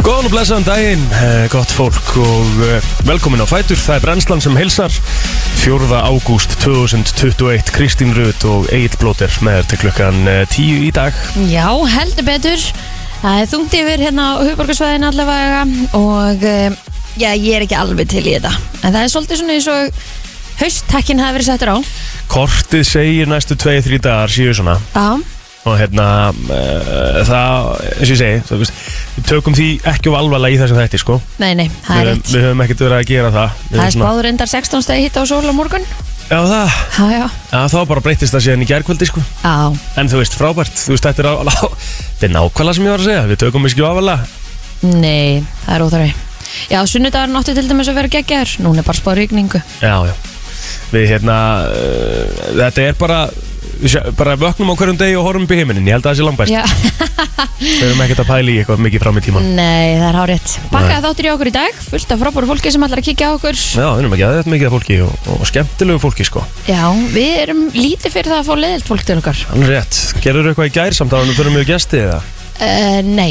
Góðan og blessaðan daginn, eh, gott fólk og eh, velkomin á Fætur. Það er brennslan sem hilsar 4. ágúst 2021, Kristín Rut og Egil Blóter með þér til klukkan eh, 10 í dag. Já, heldur betur Það er þungt yfir hérna á hugbörgarsvæðin allavega og eh, já, ég er ekki alveg til í þetta en það er svolítið svona eins og hausttakkin hafi verið settur á Kortið segir næstu 2-3 dagar síðu svona Já, og hérna eh, það, eins og ég segi, það, veist, við tökum því ekki of alvarlega í þessum þætti sko. nei, nei, það Við, er höfum- rétt við höfum ekkert verið að gera það. Við Það er svona- spáður endar 16 stegi hitt á sól á morgun Já það, Já, já, já, þá bara breytist það síðan í gerkvöldi sko. já, En þú veist, frábært, þú veist, þetta er, á, á, þetta er nákvæmlega sem ég var að segja, við tökum ekki ofalega nei, það er óþarfi Já, sunnudagur átti til dæmis að vera geggjar Núna er bara spáð rigningu Já, já Við hérna, uh, þetta er bara, við sjá, bara vöknum á hverjum degi og horfum upp í heiminin, ég held að það sé langbæst Já, Mm. Við erum ekkert að pæla í eitthvað mikið fram í tíman nei, það er hárétt Bakkaði þáttur í okkur í dag, fullt af frábúru fólki sem ætlar að kíkja á okkur Já, við erum ekki að þetta mikið af fólki og, og skemmtilegu fólki sko Já, við erum lítið fyrir það að fá leðilt fólk til okkar Þannig rétt, gerður eitthvað í gær samt að hann fyrir mjög gesti eða? uh, Nei,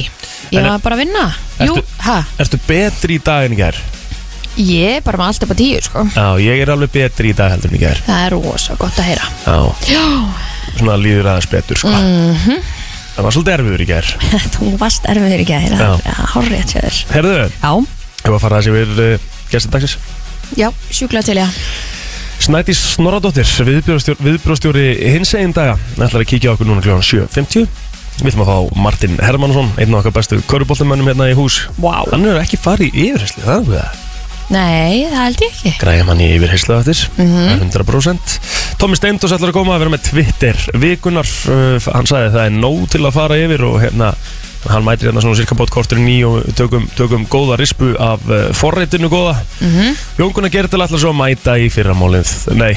ég En- var bara að vinna Ertu- Jú, hæ, Ertu betri í dag en í gær? ég er bara með allt upp á tíu sko. Já, ég er alveg betri í dag heldur en í gær Það er rosa gott að heyra Já, Já, svona líður aðeins betur sko Það var svolítið erfiður í gær þú varst erfiður ekki að heyra Já. Já, hárrétt hjá þér Herðu, Já, hefur að fara þessi við uh, gestið dagsins já, sjúkla til ég Snædís Snorradóttir, viðbjörnstjóri, viðbjörnstjóri hins einn daga ætlar að kíkja á okkur núna kl. 7.50 Við ætlum að fá Martin Hermannsson, einn af okkar bestu köruboltamönnum hérna í hús Vá Hann er ekki farið í yfirheyslu, það er okkur það Nei, það held ég ekki Græðum hann í yfirheyslu eftir, mm 100% Tómi Steindós ætlar að koma að vera með Twitter vikunar uh, Hann sagði það er nóg til að fara yfir og hérna Hann mætir hérna svona cirka bótt kortur í og tökum, tökum góða rispu af uh, forreitinu góða mm Jón Gunnar Gerdal ætlar svo að mæta í fyrramálið Nei,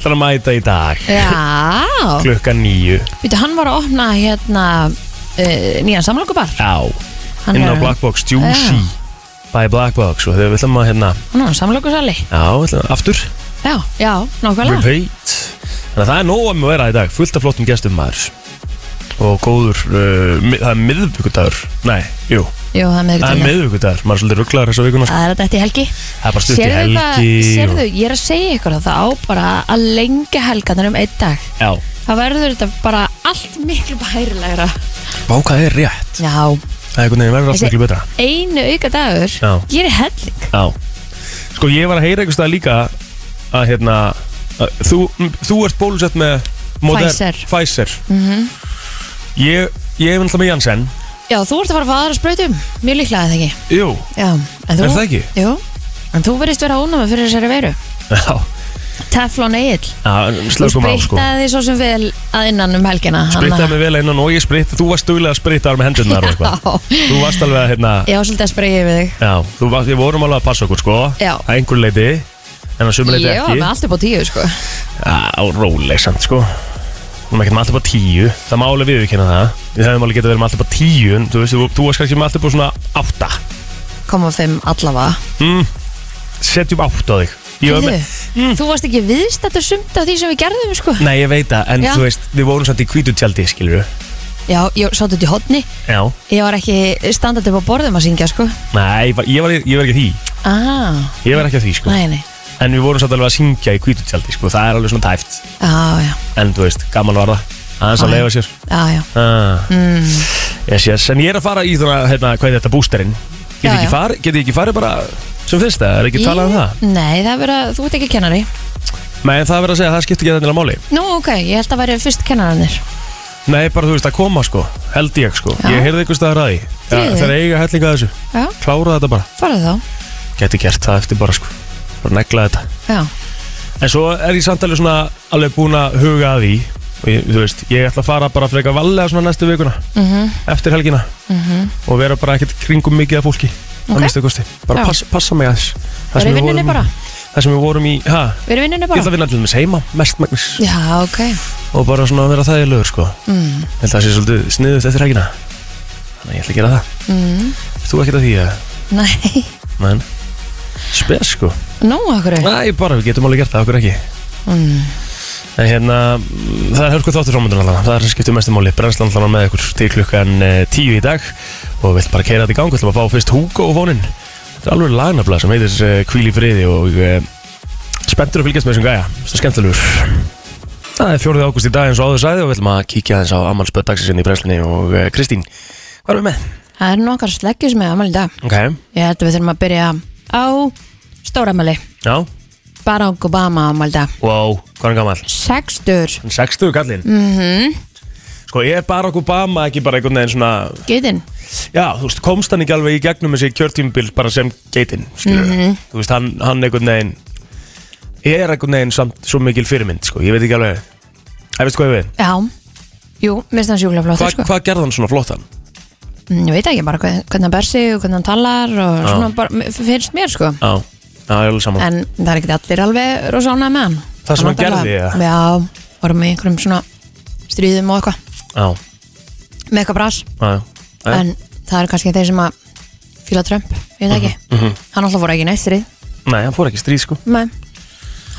ætlar að mæta í dag Já, Klukka nýju veitu, hann var að opna hérna uh, nýjan samlokubar Já Hann Inn á er- Black Box, Juicy By Black Box Og þegar við ætlum að hérna Hann var samlokusali Já, við ætlum að aftur Já, já, nákvæmlega Repeat Þannig að það er nóg um að vera í dag Fullt af flottum gestum maður Og góður uh, mi- Það er miðvíkudagur Nei, jú Jú, það er Það er meðvitað miðvíkudagur Maður er svolítið rugglaður þessa vikuna sko. Það er að þetta í helgi Það er bara stutt í Sérðu það, helgi sérðu, og- ég er að segja ykkur að það á bara að lengja helgarnar um einn dag Já Það verður þetta bara allt miklu bærilegra Vá, hvað er rétt Já, Það er einhvern veginn verður allt Þessi- miklu betra einu auka dagur Já. gerir helling Já Sko ég var að heyra einhverstað líka að hérna að, þú, þú ert bólusett með Moder- Pfizer. Mhm. Pfizer. Ég, ég er náttúrulega með Janssen Já, þú ert að fara að fá aðra sprautum, mjög líklega er það ekki Jú Já, en þú Er það ekki? Jú, en þú verðist vera ónámi fyrir þessari veiru Já, Teflon Egil já Þú slökum á sko sprittaði því svo sem vel að innan um helgina Sprittaði mig vel innan og ég spritt Þú varst duglega að sprittaði með hendurnar og eitthvað Já, Þú varst alveg að hérna ég var svolítið að spreyja við þig Já, þú varst, við vorum alveg að passa okkur sko Já. Að einhverju leiti En að sömu leiti Ég var ekki með allt upp á tíu, sko Já, róleg samt sko Við erum ekkert með allt upp á tíu Það má alveg viðurkenna það Við hefum alveg getað verið með allt upp á tíu En þú veist, þú, þú varst kannski með allt upp á svona átta Koma fimm allavega mm. Setjum átta á þig Ég var Heyrðu, með, Mm. Þú varst ekki viðstættur sumt af því sem við gerðum sko. Nei, ég veit það En Já. þú veist, við vorum samt í hvítu tjaldi, skilur Já, ég sátt út í hotni Já Ég var ekki standað upp á borðum að syngja sko. Nei, ég var, ég var, ég var ekki að því ah, Ég var ekki að því, sko Nei, nei En við vorum samt alveg að syngja í hvítu tjaldi, sko Það er alveg svona tæft ah, Já, En þú veist, gaman var það Aðeins að Já, já. leifa sér ah, já ah. mm, yes, yes. En ég er að fara í þarna, hérna, hvað er þetta, bústerinn Get Já, ég ekki já. farið- get ég ekki farið bara sem fyrst það, er ekki Í- talað um það Nei, það er verið að þú ert ekki kennari Nei, en það verður að segja að það skiptir ekki þannig að máli Nú, ok, ég held að væri fyrst kennarannir Nei, bara þú veist að koma sko, held ég sko Já. Ég heyrði einhvers staðar að því ja, Tryggðu þig. Þeir eiga hellinga að þessu, Já, klára þetta bara farðu þá Gæti gert það eftir bara sko, bara negla þetta Já, En svo er ég samt alveg svona alveg búin að huga að því Og ég, Þú veist, ég ætla að fara bara frekar vallega svona næstu vikuna mm -hmm, Eftir helgina og vera bara ekkert kringum mikið af fólki Mhm. Ok. Að minnsta kosti, Já. bara pass, passa mig aðeins Það Verið sem við í vinnunni vorum- bara Það sem við vorum í, ha, Verið í vinnunni ég ætla bara að vinna til þess heima, mestmagnis Já, ok Og bara svona vera þægilegur sko mm, Ég held að það sé svolítið sniðut eftir helgina Þannig að ég ætla að gera það mm, Þú ekkert að því að Nei, Men Spes sko nú, akkur Næ, bara við getum alveg gert það, okkur ekki mm, En hérna, mm, það er hörku þáttur framöndan allavega, það er sem skiptir mestu máli Brennslan allavega með ykkur til klukkan eh, 10 í dag Og við ætlum bara að keira þetta í gang, við ætlum að fá fyrst Hugo og fóninn Þetta er alveg lagnafla sem heitir eh, Hvíl í friði og eh, spenntur að fylgjast með þessum gæja, það er skemmtilegur Það er 4. ágúst í dag eins og áður sæði og við ætlum að kíkja aðeins á ammálspöð dagsins í Brennslunni og eh, Kristín, hvað erum við með? Það er nokkar sleggjur sem er afmæli í dag Ok, Ég held að við þurfum að byrja á stóramæli já, Barack Obama afmæli í dag wow, hvað er hann gammal? Sextur Hann 60 kallinn mm Sko, er Barack Obama ekki bara einhvern veginn svona Geitin Já, þú veist, komst hann ekki alveg í gegnum þessi kjörtímbil bara sem geitinn, skilur Mhm. Þú veist, hann, hann einhvern veginn er einhvern veginn samt svo mikil fyrirmynd, sko, ég veit ekki alveg Það veist hvað ég við, Já Jú, minnst hann sjúklega Hva, flottur sko hvað gerði hann svona flottan? Mm, Ég veit ekki bara hvað- hvernig hann ber sig og hvernig hann talar og Já. svona bara m- finnst mér sko Já, já, ég er alveg saman En það er ekki allir alveg rosána með hann Það sem hann náttúrulega- gerði, eða? Já, vorum í einhverjum svona stríðum og eitthvað Já, Með eitthvað brás já, já En það eru kannski þeir sem að fíla Trump, ég veit ekki mm -hmm. Hann alltaf voru ekki neitt stríð Nei, hann fór ekki í stríð, sko Nei,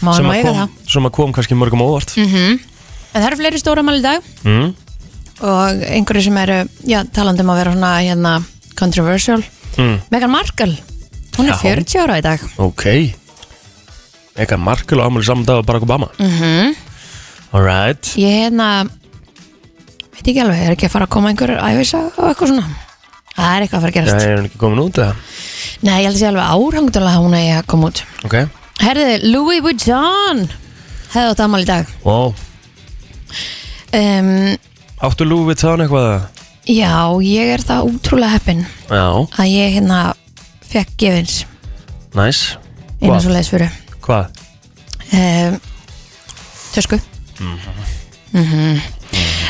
má hann sem má að, eiga það kom, sem að kom kannski mörgum á óvart mm En það eru fleiri stóra mál í dag mm. og einhverju sem eru, já, talandi um að vera svona hérna controversial Mm. Meghan Markle, hún er Já. 40 ára í dag Ok Eitthvað markul og ámæli saman dag og Barack Obama mm Alright Ég hérna veit ekki alveg, er ekki að fara að koma einhver æfisa og eitthvað svona Það er eitthvað að fara að Já, gerast er hann ekki komin út eða? Nei, ég held að sé alveg árangtulega að hún eigi að koma út Ok Herði, Louis Vuitton hefði átt afmæli í dag Wow um, Áttu Louis Vuitton eitthvað eða? Já, ég er það útrúlega heppin Já, að ég hérna fekk gefins næs einu Hvað? svo leiðis fyrir Hvað? um, Tösku mm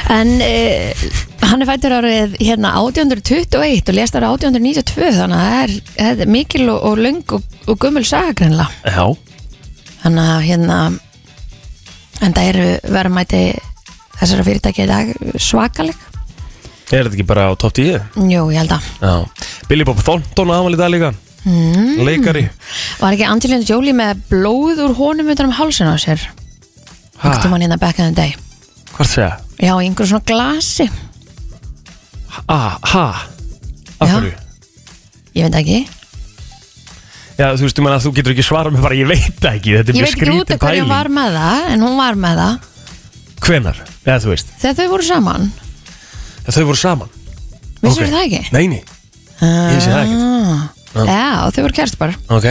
En uh, hann er fættur árið hérna 1821 og lést árið 1892 þannig að það er, það er mikil og, og löng og, og gummul saga greinlega Já þannig að hérna en það eru verðmæti þessara fyrirtæki í dag svakaleg Er þetta ekki bara á topp 10? Jú, ég held að Já Billy Bob Thornton aðmæli í dag líka mm. Leikari Var ekki Angelina Jolie með blóð úr honum utan um hálsin á sér Ha, Hættum hann hérna back in the day Hvort segja? Já, í einhverju svona glasi Ha, ha Af Já. hverju? Ég veit ekki Já, þú veist, ég meina, þú getur ekki svarað mér bara, ég veit það ekki Þetta er mjög Ég veit ekki út skrítin af hverju pæling hún var með það En hún var með það Hvenar? Já, þú veist Þegar þau voru saman Já, Þau voru saman Vissir Ok. það ekki? Ah. Nei, nei ég vissi það ekkert Já, þau voru kærst bara Ok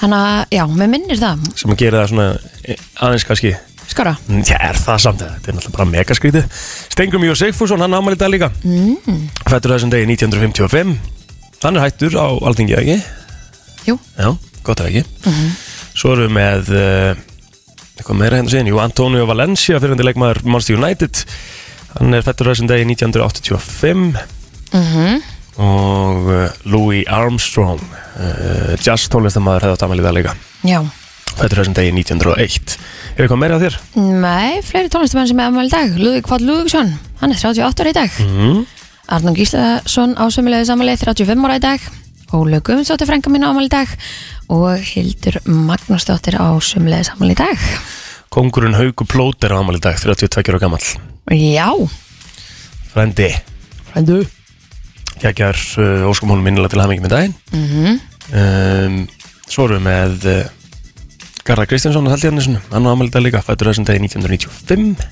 Þannig að, já, mér minnir það Sem að gera það svona eh, aðeins kannski Skora Mm, Já, er það samt að þetta er náttúrulega bara megaskrítið Stengum Jó Sigfússon, hann ámæli í dag líka mm. Fættur þessum degi 1955 Hann er hættur á Alþingi, eða ekki? Jú, Já, gott er ekki Svo erum við með uh, eitthvað meira hérna síðan Jú, Antonio Valencia, fyrirhundi leikmaður Manchester United Hann er fættur þessum degi 1985 mm og uh, Louis Armstrong uh, jazz tónlistamæður hefði átt afmæli í dag líka já Fættur þessum degi 1901 Er eitthvað meira á þér? Nei, fleiri tónlistumenn sem er afmæli í dag Lúðvík Páll Lúðvíksson, hann er 38 ára í dag Mm. Arnum Gíslason ásumilegu sammáli 35 ára í dag Ólu Guðmundsdóttir frænka mín ámæli í dag og Hildur Magnúsdóttir ásumilegu sammáli í dag Kongurinn Hauku Plóter á afmæli í dag 32 ára gamall Já, Frændi frændu Kjækjar uh, óskum honum minnilega til hamingi með daginn mm um, Svo erum við með uh, Garðar Kristjánsson og Haldi Hannesson Hann á afmæli í dag líka, fættur þessum degi 1995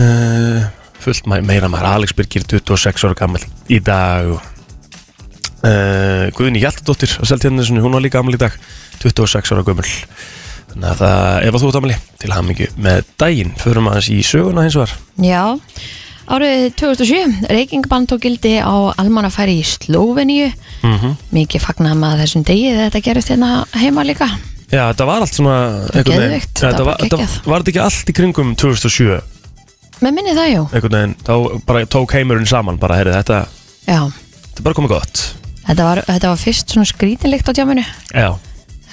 uh, Fullt ma- meira maður Alex Birgir 26 ára gamall í dag og Uh, Guðni Hjaltadóttir á Seltjarnesunni, hún var líka amli í dag 26 ára gömul þannig að það, ef að þú ert amli til hamingju með daginn, förum aðeins í söguna hins var Já, árið 2007 Reykjengbann tók gildi á almannafæri í Slóveníu mm Mikið fagnaði maður þessum degi þegar þetta gerist hérna heima líka Já, þetta var allt svona einhvern veginn- geðveikt, Já, þetta þetta var var, þetta geggjað. var þetta ekki allt í kringum 2007 Með minni það, jú einhvern veginn, þá bara tók heimurinn saman bara, heyrðu, þetta, Já, þetta er bara komið gott þetta var, þetta var fyrst svona skrítinlegt á tjáminu Já,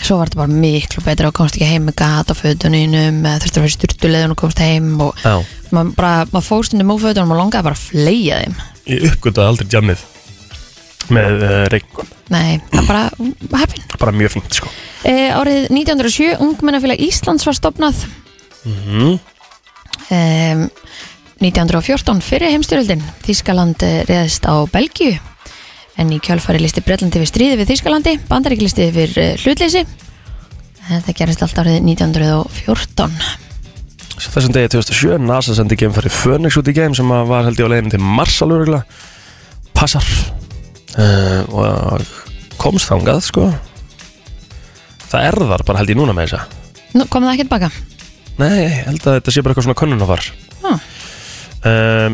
svo var þetta bara miklu betra og komst ekki heim með gat á fötunum eða þurfti að vera styrtulegðun og komst heim og já maður bara, maður fór stundum úr fötunum og langaði bara að fleia þeim Ég uppgötaði aldrei jammið með uh, reikningum, nei, það bara heppin bara mjög fínt sko Eh, e, árið 1907, ungmennafélag Íslands var stopnað um, 1914 fyrir heimstyrjöldin Þískaland eh, réðst á Belgíu en í kjálfari listi Bretlandi við stríði við Þískalandi Bandarík listi við eh, hlutleysi Þetta gerist allt árið 1914 Svo Þessum degi 2007 NASA sendi geimfari Phoenix út í geim sem að var held ég á leiðin til Mars alveg regla Passar uh, og komst þangað sko Það erðar bara held ég núna með þessa Nú, kom það ekki tilbaka? Nei, ég held að þetta sé bara eitthvað svona könnunafar Ah. um,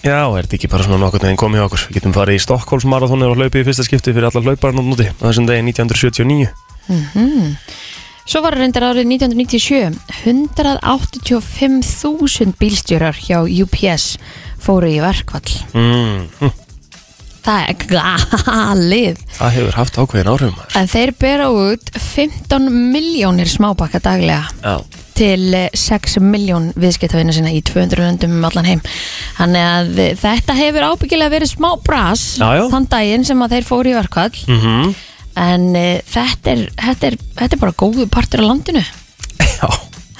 Já, er þetta ekki bara svona nokkurn veginn komið hjá okkur Við getum farið í Stokkólsmarathon og hlaupið í fyrsta skipti fyrir alla hlauparinn og núti á þessum degi 1979 mhm. Svo var reyndar árið 1997 185.000 bílstjórar hjá UPS fóru í verkvall mm, hm, Það er galið Það hefur haft ákveðin áhrifum maður. En þeir bera út 15 miljónir smábakka daglega Já, til eh, 6 miljón viðskiptavina sína í 200 löndum um allan heim Þannig að eh, þetta hefur ábyggilega verið smá bras Já, já. þann daginn sem að þeir fóru í verkvall mm en uh, þetta, er, þetta, er, þetta er bara góðu partur á landinu já.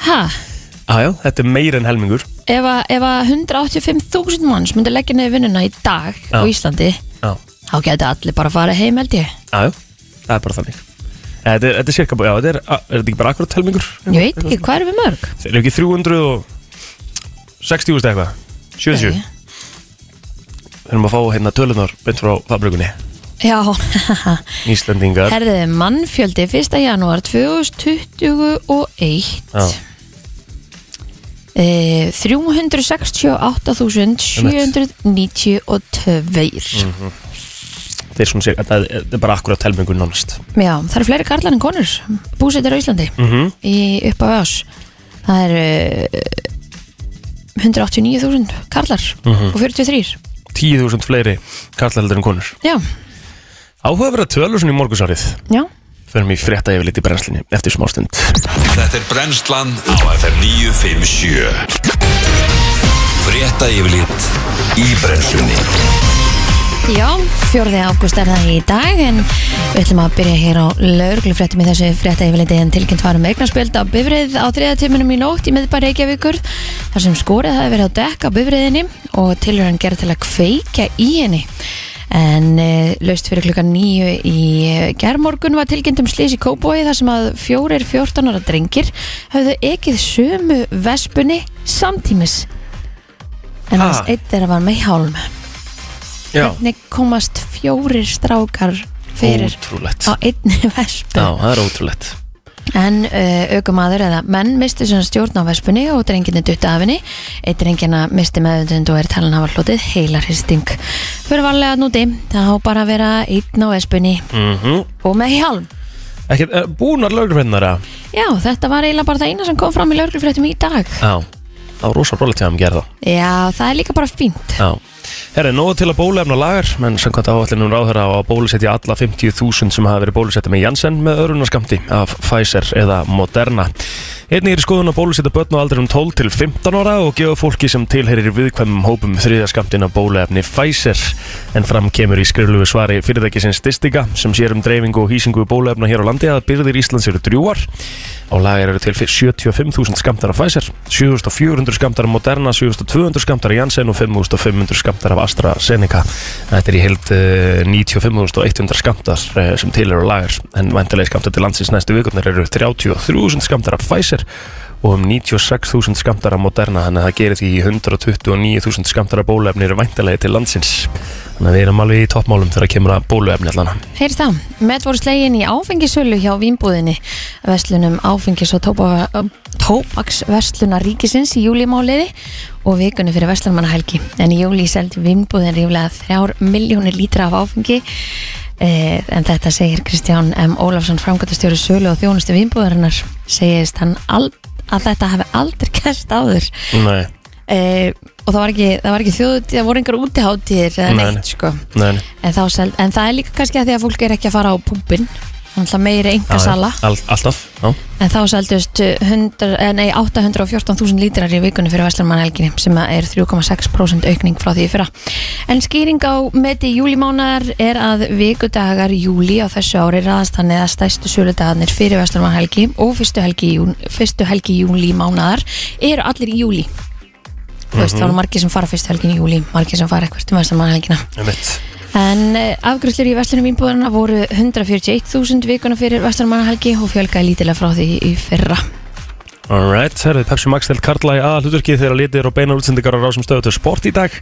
Ha? Já, já, þetta er meir en helmingur Ef að, ef að 185.000 manns myndi leggja nefn vinnuna í dag Já. á Íslandi Já, þá geti allir bara að fara heim held ég já, já. það er bara þannig Eh, Þetta er, þetta er cirka, já, þetta er, er þetta ekki bara akkurat helmingur? Ég veit ekki, hvað erum við mörg? Þeir eru ekki 360 úrst eitthvað 70 Nei. Við erum að fá hérna tölunar beint frá fabrikunni Já, Íslendingar herðið mannfjöldi 1. janúar 2021 Já. Eh, 368.792 Mm. Þeir svona sér, þetta er- þetta er bara akkurat helmingur nánast Já, það eru fleiri karlar en konur búsettir á Íslandi Mhm. í upp á ás það eru eh, 189.000 karlar Mhm. og 43 10.000 fleiri karlaldur en konur Já, Áhuga verið að tölur svona í morgunsárið já Förum í frétta yfir liti brennslinni eftir smástund Þetta er brennslan á FM 957 Frétta yfirlit í brennslunni Já, 4. ágúst er það í dag en við ætlum að byrja hér á lauruglufréttum í þessu frétta yfirleiti en tilkynnt varum eignarspjöld á bifrið á þriðatíminum í nótt í miðbæri Reykjavíkur þar sem skorið hafi verið á dekk á bifriðinni og tilhörin gerð til að kveika í henni en e, laust fyrir klukkan nýju í eh, gærmorgun var tilkynnt um slís í Kóbói þar sem að fjórir 14 ára drengir höfðu ekið sömu vespunni samtímis en hans Ha. eitt er að var með hálm Já, hvernig komast fjórir strákar fyrir ótrúlegt á einni vespu Já, það er ótrúlegt en uh, aukumadur eða menn misti svona stjórn á vespunni og drenginni dutta af henni eitt drengina misti meðutund og er talan hafa hlotið heilarhisting fyrir varlega að núti það á bara að vera einn á vespunni mm -hmm. og með hjálm Ekkert, eh, búnar lögurfrétnar að já þetta var eiginlega bara það eina sem kom fram í lauruglufréttum í dag Já, það var rosa rólegt hjá þeim gerða já það er líka bara fínt Já Herri, nóg til að bólefna lagar, menn samkvæmt áallinum ráðherra á að bólusetja alla 50.000 sem hafa verið bólusetja með Janssen með örunaskamti af Pfizer eða Moderna. Einnig er í skoðun að bólusetja börn á aldrinum 12 til 15 ára og gefa fólki sem tilherir viðkvæmum hópum þriðaskamtin af bóluefni Pfizer. En fram kemur í skriflugu svari fyrirtækisins Distika sem sér um dreifingu og hýsingu bóluefna hér á landi að byrðir Íslands eru drjúar. Á lagar eru til 75.000 skamtar af Pfizer, 7.400 skamtar af Moderna, 7.200 skamtar af Janssen og 5.500 skamtar af AstraZeneca. Þetta er í heild eh, 95.100 skamtar eh, sem til eru á lagar, en vantilega skamtar til landsins næstu vikurnar eru 33.000 skamtar af Pfizer og um 96.000 skamtar af Moderna, þannig að það gerir því 129.000 skamtar af bóluefni eru vantilega til landsins. Þannig að við erum alveg í toppmálum þegar kemur að bóluefni allan. Heyrst það, met voru slegin í áfengisölu hjá Vínbúðinni Vestlunum áfengis og tópa, tópaksversluna ríkisins í júlimáliði og vikunni fyrir Vestlunmannahelgi en í júli seldi Vínbúðin ríflega 3 miljónir lítra af áfengi eh, en þetta segir Kristján M. Ólafsson framkvæmtastjóri sölu og þjónustu Vínbúðarinnar segist hann al, að þetta hafi aldrei gerst áður Nei, eh, og það var ekki, það var ekki þjóðut það voru engar útiháttir eða Nei, nei. neitt sko nei, nei. en, þá seld, en það er líka kannski að því að fólk er ekki að fara á púbin Þannig að meiri engasala Al, alltaf, já. En þá seldust 100 eh, nei, 814.000 lítrar í vikunni fyrir Vestlunmann Elginni sem að er 3,6% aukning frá því í fyrra En skýring á meti júlimánaðar er að vikudagar júli á þessu ári raðast þannig að stæstu söludagarnir fyrir Vesturmanhelgi og fyrstu helgi, jún, fyrstu helgi júlimánaðar eru allir í júli. Þú veist, Mhm. þá eru margir sem fara fyrstu helgin í júli, margir sem fara eitthvað um Vesturmanhelgina. Einmitt. En afgrúslur í vestlunum ímbúðarna voru 141.000 vikuna fyrir Vesturmanhelgi og fjölgaði lítilega frá því í fyrra. Alright, herðið Pepsi Max til Karla í aðalhuturkið þegar litir og beinar útsendingar á rásum stöðu til sport í dag.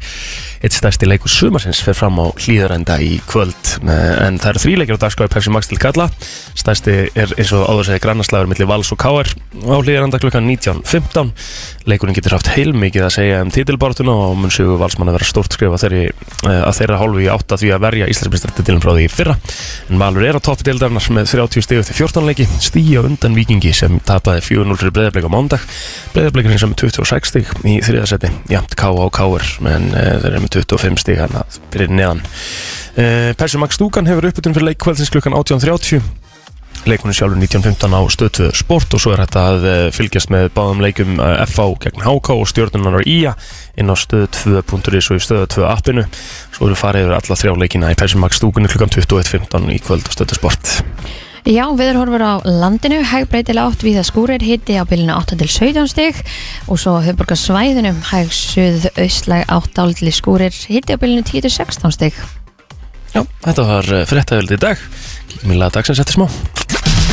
Eitt stærsti leikur sumarsins fer fram á hlýðarenda í kvöld Eh, en það eru þrý leikir á dagskráði Pepsi Max til Karla. Stærsti er eins og áður segja grannarslagur millir Vals og Káar á hlýðarenda klukkan 19.15. Leikurinn getur haft heilmikið að segja um titilbártuna og mun sigur Valsmann að vera stórt skrifa þeirri, eh, að þeirra hálfu í átt að því að verja Íslandsbyrstatitilum frá því í fyrra. En Valur er á toppi deildarinnar með 30 stig eftir 14 leiki, stíja undan Víkingi sem tapaði 4-0 fyrir Breiðablik á mándag Breiðablikurinn sem er 26 stig í þriðasetti, jafnt K og K-er en uh, þeir eru með 25 stig hann að fyrir neðan uh, Persu Max Stúkan hefur upputun fyrir leikkvælsins klukkan 18.30 leikunum sjálfur 19.15 á stöðtöðu sport og svo er þetta að eh, fylgjast með báðum leikum eh, FH gegn HK og stjórnunar á IA inn á stöð2.is og í stöð2 appinu svo eru farið yfir alla þrjá leikina í Persu Max Stúkunni klukkan 21.15 í kvöld á stöðtöðu sport Já, viður horfur á landinu, hæg breytilega átt við að skúrir hitti á byluna 8 til 17 stig og svo höfburgar svæðunum, hæg suð austlæg átt áldli skúrir hitti á bylunu 10 til 16 stig. Já, þetta var fréttaðjöld í dag Kíkjum í laga dagsins eftir smá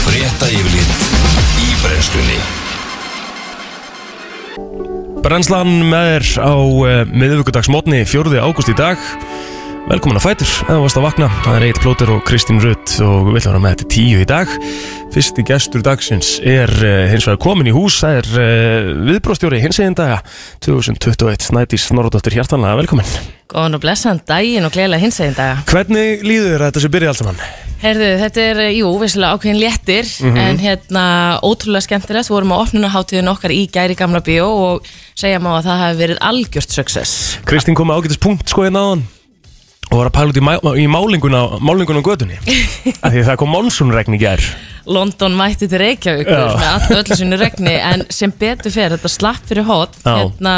Frétta yfirlit í brennslunni Brennslan með þér á uh, miðvíkudagsmótni 4. ágúst í dag Velkomin að fætur, eða varst að vakna Það er Egil Plóter og Kristín Rutt og við ætlum að vera með þetta tíu í dag Fyrsti gestur dagsins er uh, hins vegar komin í hús Það er uh, viðbróðstjóri hins eginn daga 2021 Snædís Snorðdóttir Hjartanlega, velkomin Góðan og blessan daginn og gleðilega hins einn daga. Hvernig líður þér að þessu byrja allt saman? Herðu, þetta er, eh, jú, vissulega ákveðin léttir, en hérna ótrúlega skemmtilegt, vorum á opnunaháttíðin okkar í gæri gamla bíó og segja má að það hafi verið algjört success. Kristín kom með ágætis punkt sko hérna áðan og var að pæla út í, má, í málinguna, málinguna á gödunni af því að það kom monsunregn í gær London mætti til Reykjavíkur Já. með allt öllu sinni regni, en sem betur fer, þetta slapp fyrir hot, Já. hérna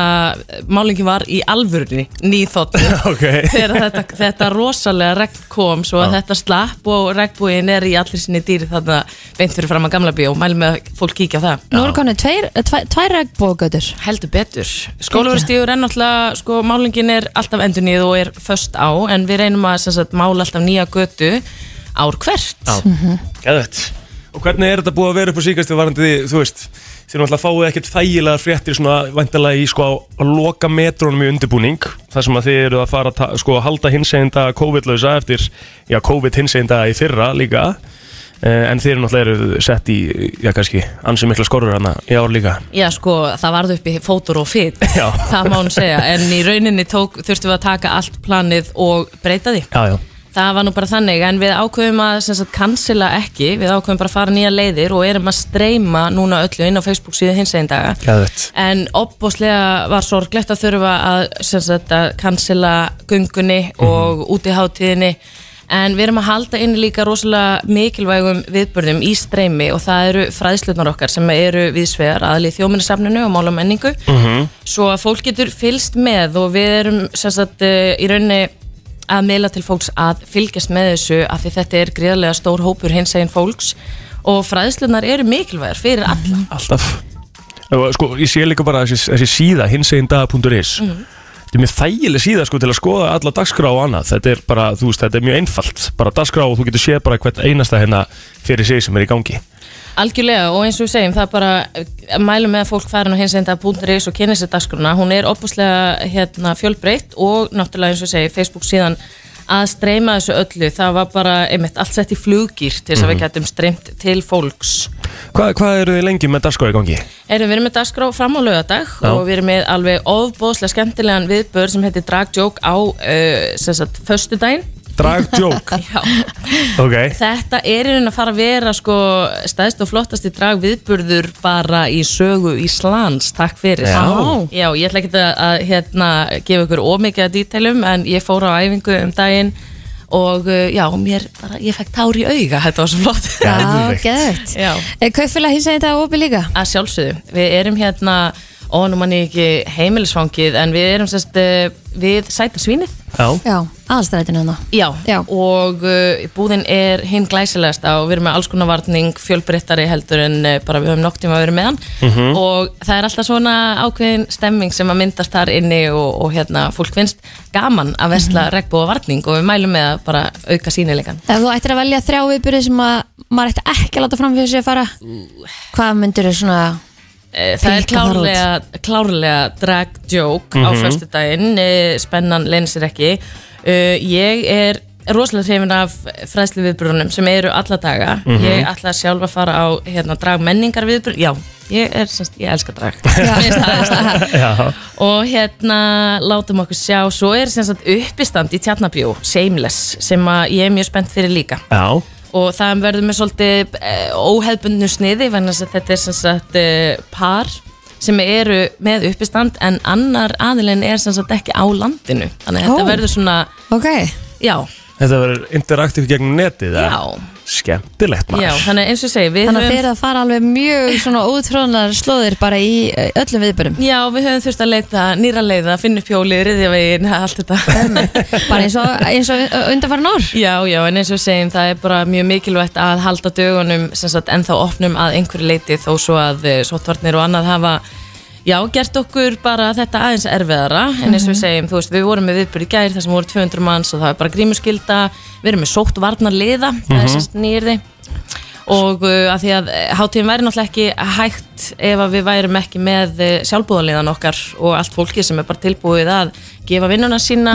málingin var í alvörni, nýþotni. ok Þegar þetta, þetta rosalega regn kom svo að þetta slapp og regnbúin er í allir sinni dýri þarna beint fyrir fram að gamla bíó og mælum með að fólk kíkja á það. Nú eru konu tveir, tveir, tveir regnbóðgötur. Heldur betur. Skólaverðstígur er náttúrulega, sko, málingin er alltaf endurnýð og er föst á, en við reynum að sem sagt, mála alltaf nýja götu ár hvert. Gæðvett Og hvernig er þetta búið að vera upp á síkast því varandi því, þú veist þið náttúrulega fáið ekkert þægilega fréttir svona væntalega í sko að loka metrónum í undirbúning þar sem að þið eru að fara að ta- sko að halda hinseginda COVID-lausa eftir, já COVID hinseginda í fyrra líka Eh, en þið eru náttúrulega eru sett í, já kannski ansið mikla skorur hana í ár líka Já, sko, það varð upp í fótur og fit, Já. það má hún segja, en í rauninni tók, þurftum við að taka allt planið og breyta því. Já, já Það var nú bara þannig, en við ákveðum að sem sagt, cancela ekki, við ákveðum bara að fara nýja leiðir og erum að streyma núna öllu inn á Facebook síðu hins einn daga. Gæðvett En opbóslega var sorglegt að þurfa að, sem sagt, að cancela gungunni og útiháttíðinni en við erum að halda inn líka rosalega mikilvægum viðbörðum í streymi og það eru fræðslunar okkar sem eru viðsvegar aðlið þjóminnsafninu og mála menningu svo að fólk getur fylst með og við erum sem sagt eh, í rauninni að meila til fólks að fylgjast með þessu af því þetta er gríðarlega stór hópur hins eginn fólks og fræðslunar eru mikilvægar fyrir alla Alltaf Og sko, ég sé líka bara þessi, þessi síða hinsegindaga.is Mhm. Þetta er mjög þægileg síða sko til að skoða alla dagskrá og annað Þetta er bara, þú veist, þetta er mjög einfalt Bara dagskrá og þú getur séð bara hvert einasta hérna fyrir sig sem er í gangi Algjörlega og eins og við segjum það er bara eh, mælum með að fólk farin og hins enda búnduris og kynni sér dagskruna hún er opuslega hérna, fjölbreytt og náttúrulega eins og við segjum Facebook síðan að streyma þessu öllu það var bara einmitt allt sett í flugir til þess að við getum streymt til fólks Hva, Hvað eru þið lengi með dagskrá í gangi? Erum við erum með dagskrá fram á laugardag Já. og við erum með alveg ofbóðslega skemmtilegan viðbörð sem heitir Drag Joke á uh, sem sagt, föstudaginn Dragjók Já, Ok Þetta er einhvern að fara að vera sko, stæðst og flottasti drag viðburður bara í sögu Íslands takk fyrir Já. Já, ég ætla ekki að, að hérna, gefa ykkur ómikið að dítelum en ég fór á æfingu um daginn og uh, já, mér bara, ég fekk tár í auga þetta var svo flott Geðveikt. Já, Eh, gett. Já. Kaufélag hins einn dag opið líka? að sjálfsögðu, við erum hérna og nú manni ekki heimilisfangið en við erum sérst eh, við sæta svínið Já, Já, aðalstrætinu hana Já, Já. og uh, búðin er hinn glæsilegasta og við erum með alls konar varning fjölbreyttari heldur en uh, bara við höfum nokk tíma að vera með hann og það er alltaf svona ákveðin stemming sem að myndast þar inni og, og hérna fólk finnst gaman að vesla mm varning og við mælum með að bara auka sínilegan Ef þú ættir að velja þrjá viðbyrði sem að maður ætti ekki að láta fram fyrir sig að fara Hvað myndir þau svona Eh, Það er Pikka þar út. Mhm. klárlega, klárlega drag joke á föstudaginn, eh, spennan leynir sér ekki. Eh, Ég er rosalega hrifin af fræðslu viðbrunum sem eru alla daga. Mhm. Ég ætla sjálf að fara á hérna, drag menningar viðbrun. Já, ég, er, semst, ég elska drag. Mér finnst það- það- það. já, og hérna látum okkur sjá, svo er sem sagt, uppistand í tjarnabjó, Shameless, sem að ég er mjög spennt fyrir líka já og það verður með svolítið eh, óhefbundnu sniði vegna þess að þetta er sem sagt eh, par sem eru með uppistand en annar aðilinn er sem sagt ekki á landinu þannig að Ó. þetta verður svona, Ok, já, Þetta verður interaktíf gegnum netið eða? já, Skemmtilegt já maður þannig að eins og ég segi við þannig að þeir höfum, eru að fara alveg mjög svona ótrúnar slóðir bara í eh, öllum viðbyrðum já, við höfum þurft að leita nýra leiða, finna upp hjólið, riðjavegin allt þetta Bara eins og, eins og undanfærin ár Já, já, en eins og við segjum, það er bara mjög mikilvægt að halda dögunum sem sagt ennþá opnum að einhverju leiti þó svo að eh, sóttvarnir og annað hafa já, gert okkur bara þetta aðeins erfiðara, en eins og við segjum, þú veist við vorum með viðbyrði gær þar sem voru 200 manns og það er bara grímuskylda, við erum með sóttvarnarliða, það er sérst nýrði og uh, að því að hátíðin væri náttúrulega ekki hægt ef að við værum ekki með eh, sjálfbúðarliðan okkar og allt fólki sem er bara tilbúið að gefa vinnuna sína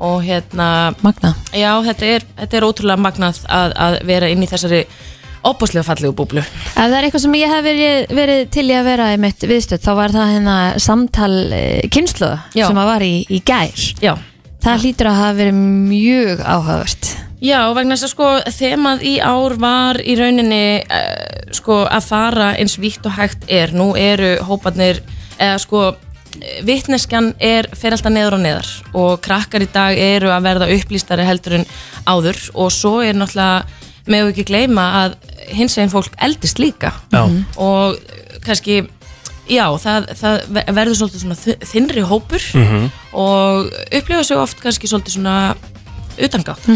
og hérna Magna Já, þetta er, þetta er ótrúlega magnað að, að vera inn í þessari opbúslega fallegu búblu. Ef það er eitthvað sem ég hef verið, verið til í að vera í mitt viðstöð þá var það hérna samtal kynslu Já. sem að var í, í gær Já. Það hlýtur að hafa verið mjög áhugavert Já, og vegna þess að sko þemað í ár var í rauninni uh, sko að fara eins vítt og hægt er. Nú eru hóparnir, eða sko vittneskjan er, fer alltaf neður og neðar og krakkar í dag eru að verða upplýstari heldur en áður og svo er náttúrulega, meðu ekki gleyma að hins veginn fólk eldist líka Já. og eh, kannski Já, það, það ver- verður svolítið svona þ- þynnri hópur og upplifa sig oft kannski svolítið svona utangátt.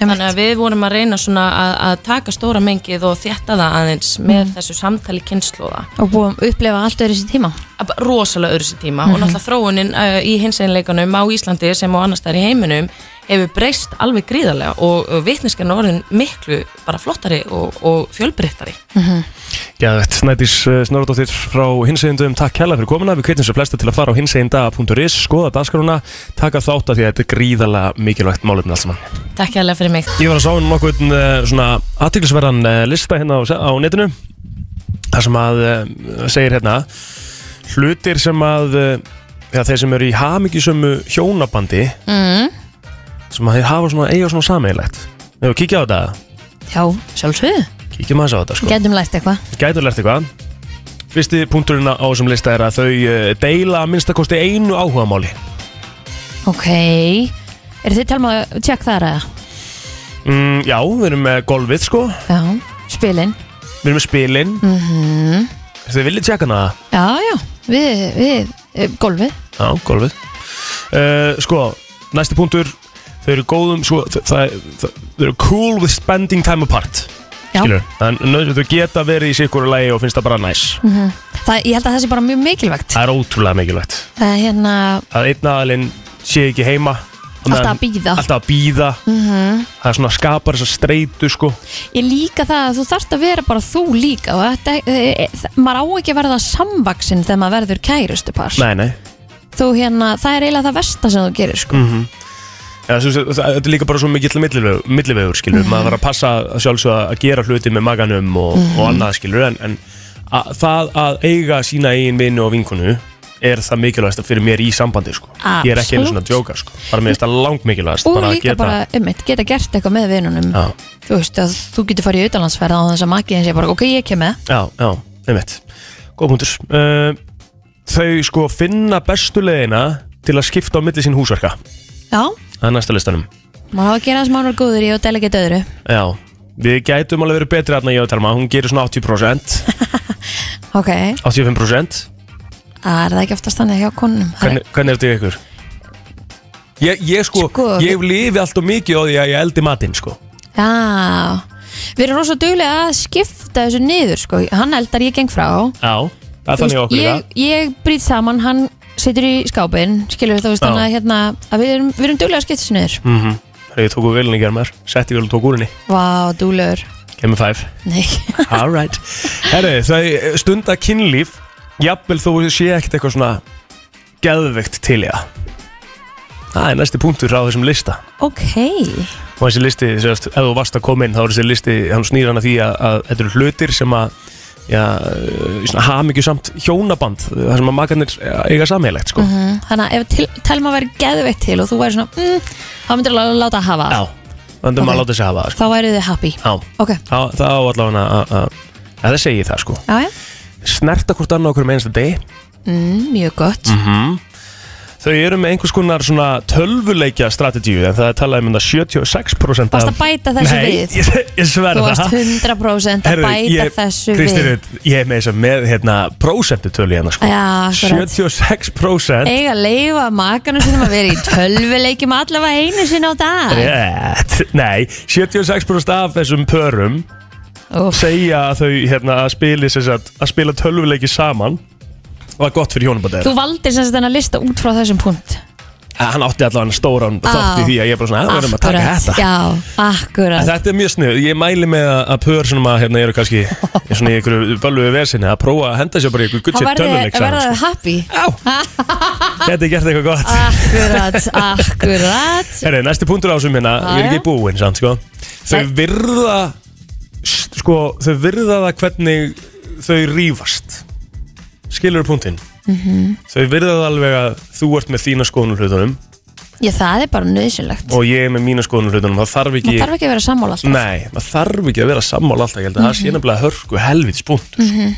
Þannig að við vorum að reyna svona að, að taka stóra mengið og þétta það aðeins með þessu samtali kynnslóða. og búum að upplifa allt öðru sér tíma Að bara Rosalega öðru sér tíma og náttúrulega þróunin uh, í hinseginleikanum á Íslandi sem og annars þær í heiminum hefur breyst alveg gríðarlega og, og vitniskan orðin miklu bara flottari og, og fjölbreyttari. Gæðvett, Snædís eh, Snorradóttir frá hinsegindum, takk hella fyrir komuna Við kveitum sem flesta til að fara á hinseginda.is skoða dagskaruna, taka þátt að því að þetta er gríðalega mikilvægt málefni allt saman Takk hérlega fyrir mig. Ég var að sá um nokkuð svona aðtiklisverðan lista hérna á, á netinu þar sem að eh, segir hérna hlutir sem að eh, já, þeir sem eru í hamingisömmu hjónabandi mm. sem að þeir hafa svona eiga svona sameigilegt Ef við kíkja á þetta, Já, sjálfsögðu kíkjum aðeins á þetta sko Getum lært eitthvað gætur lært eitthvað Fyrsti punkturinn á þessum lista er að þau eh, deila að minnstakosti einu áhugamáli Ok Er þið talma að tjekk þar eða? mm, Já, við erum með golfið sko Já Spilin Við erum með spilin mm Þau viljið tjekka hana það? Já, já Við, við, eh, gólfið Já, golfið uh, Sko, næsti punktur Þau eru góðum sko, þ- það, það, Þau eru cool with spending time apart Já Skilur, þannig að þau geta verið í sikkur lagi og finnst það bara næs Mm. Það, ég held að það sé bara mjög mikilvægt Það er ótrúlega mikilvægt Það er hérna að einn aðalinn sé ekki heima á meðan- Alltaf að bíða. alltaf að býða Mhm. það er svona skapar þess að streitu sko Ég líka það að þú þarft að vera bara þú líka og þetta, e, e, þ- maður á ekki að verða samvaksinn þegar maður verður kærustu par nei, nei. Þú hérna, það er eiginlega það versta sem þú gerir sko Mhm, Ja, svo, svo, það, þetta er líka bara svo mikill millivegu- millivegur skilur, Mhm. maður var að passa að sjálfsög að gera hluti með maganum og, og Mhm. annað skilur en, en að, það að eiga sína eigin vinnu og vinkonu er það mikilvægasta fyrir mér í sambandi sko. ég er ekki einu svona að Absolutt. djóka sko. bara mér finnst það langt mikilvægast Og bara að líka geta- bara, ummitt, geta gert eitthvað með vinunum Já. Þú veist að þú getur farið í auðanlandsferð á þess að makiðin sé bara, ok, ég kem með Já, já, einmitt Góð punktur uh, Þau sko finna bestu leiðina til að skipta á milli sín húsverka Já, Það er næsta listanum maður á að gera það sem maður er góður í og dæla geta öðru Já, við gætum alveg verið betri aðna ég að telma Hún gerir svona 80% Ok, 85% Það er það ekki oftast þannig hjá konunum Það er- Hvernig, hvernig er þetta í ykkur? Ég, ég sko, Sko, ég lifi alltaf mikið á því að ég eldi matinn sko Já Við erum rosa duglega að skipta þessu niður sko. Hann eldar, ég geng frá Já Það er Þú þannig veist, okkur í ég, það ég brýt saman, hann situr í skápin Skilur við þú veist Já. þannig að, hérna, að við, erum, við erum duglega að skipta þessu niður mm -hmm. Ég tók úr vilni í germar, setti vil og tók úr henni Vá, duglegur Kemur fæf Nei, Alright Herri, þau eh, stunda kynlíf Jafnvel þú sé ekkert eitthvað svona Geðveikt til ég Það er næsti punktur á þessum lista ok Og þessi listi, sérst, ef þú varst að koma inn Þá er þessi listi, hann snýr hann að því að, að Þetta eru hlutir sem að Já, eh, svona hamingjusamt hjónaband Það sem að makarnir eiga sammeilegt sko. mm, Þannig að ef til, telma væri geðveitt til og þú væri svona mm, þá myndir að láta hafa Já, þannig að Ok. maður láta sig hafa það, sko. Þá væri þið happy Já, Ok, það það á allavega að- að að Það segi það sko já, já, Snerta hvort annað okkur með einsta degi mm, mjög gott Þau eru með einhvers konar svona tölvuleikja strategíu en það er talað um þetta 76% Varst af... að bæta þessu við? Nei, ég, ég Þú sverða varst 100% að bæta þessu við Ég er með þess að með hérna prósentutölu hérna sko Já, akkurat. 76% eiga að leifa makanum sinum að vera í tölvuleikjum allavega einu sinna á dag Rétt, nei, 76% af þessum pörum Úff, segja að þau hérna að spili sem sagt, að spila tölvuleiki saman og það er gott fyrir hjónabandið Þú valdir sem sagt þennan lista út frá þessum punkt Hann átti allavega stóran Á. þátt í því að ég er bara svona, að við erum að taka Akkúrat, þetta Já, En akkurat Þetta er mjög snið, ég mæli með að að pör sem að hérna eru kannski í svona í einhverju bölvuðu vesinni að prófa að henda sér bara í einhverju Það guttsið verði- tölvuleik saman verða sko. þau happy Á, geti gert eitthvað gott Akkurat, akkurat Herri, næsti punktur á þessum hérna, Já, við erum já. ekki búin samt, sko Þau Nei. virða, sko, þau virða það hvernig þau rífast Skilur punktinn Mhm. Þau virða það alveg að þú ert með þína skoðunum hlutunum Já, það er bara nöðsynlegt og ég er með mína skoðunum hlutunum Það þarf ekki, Það þarf ekki að vera sammála alltaf Mhm. Nei, maður þarf ekki að vera sammála alltaf, ég held að það sé nefnilega hörku helvits punktur.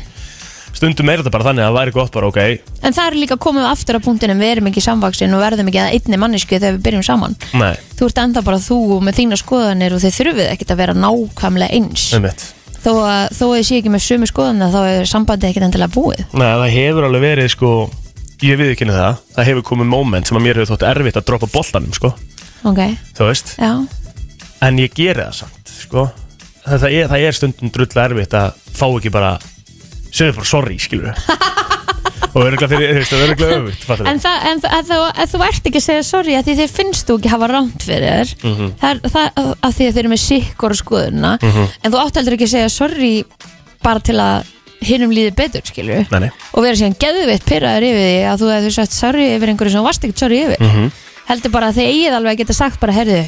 Stundum er þetta bara þannig að það væri gott bara, ok, En það er líka komið aftur að punktinum Við erum ekki samvaksin og verðum ekki að einni mannesku Þegar við byrjum saman nei, Þú ert enda bara þú og með þína skoðanir Og þið þurfið ekkert að vera nákvæmlega eins einmitt. þó að þó að þið sé ekki með sömu skoðuna þá er sambandi ekkert endilega búið Nei, það hefur alveg verið, sko, ég við ekki það, það hefur komið moment sem að mér hefur þótt erfitt að droppa boltanum, sko, ok, þú veist, já, en ég geri það samt, sko, það, það, er, það er stundum drullu erfitt að fá ekki bara, segðu bara sorry, skilur og örgulega fyrir, þú veist, það er örgulega öfugt, fattum en, það, en, það, en, þú, en þú ert ekki að segja sorry að því þið finnst þú ekki hafa rámt fyrir þér það, er- það að því að þið eru með sikkur skoðuna en þú átt heldur ekki að segja sorry bara til að hinnum líði betur skilur Nei, nei, og vera síðan geðveitt pyrraður yfir því að þú hefur sagt sorry yfir einhverju sem þú varst ekkert sorry yfir heldur bara að þið eigið alveg að geta sagt bara herðu,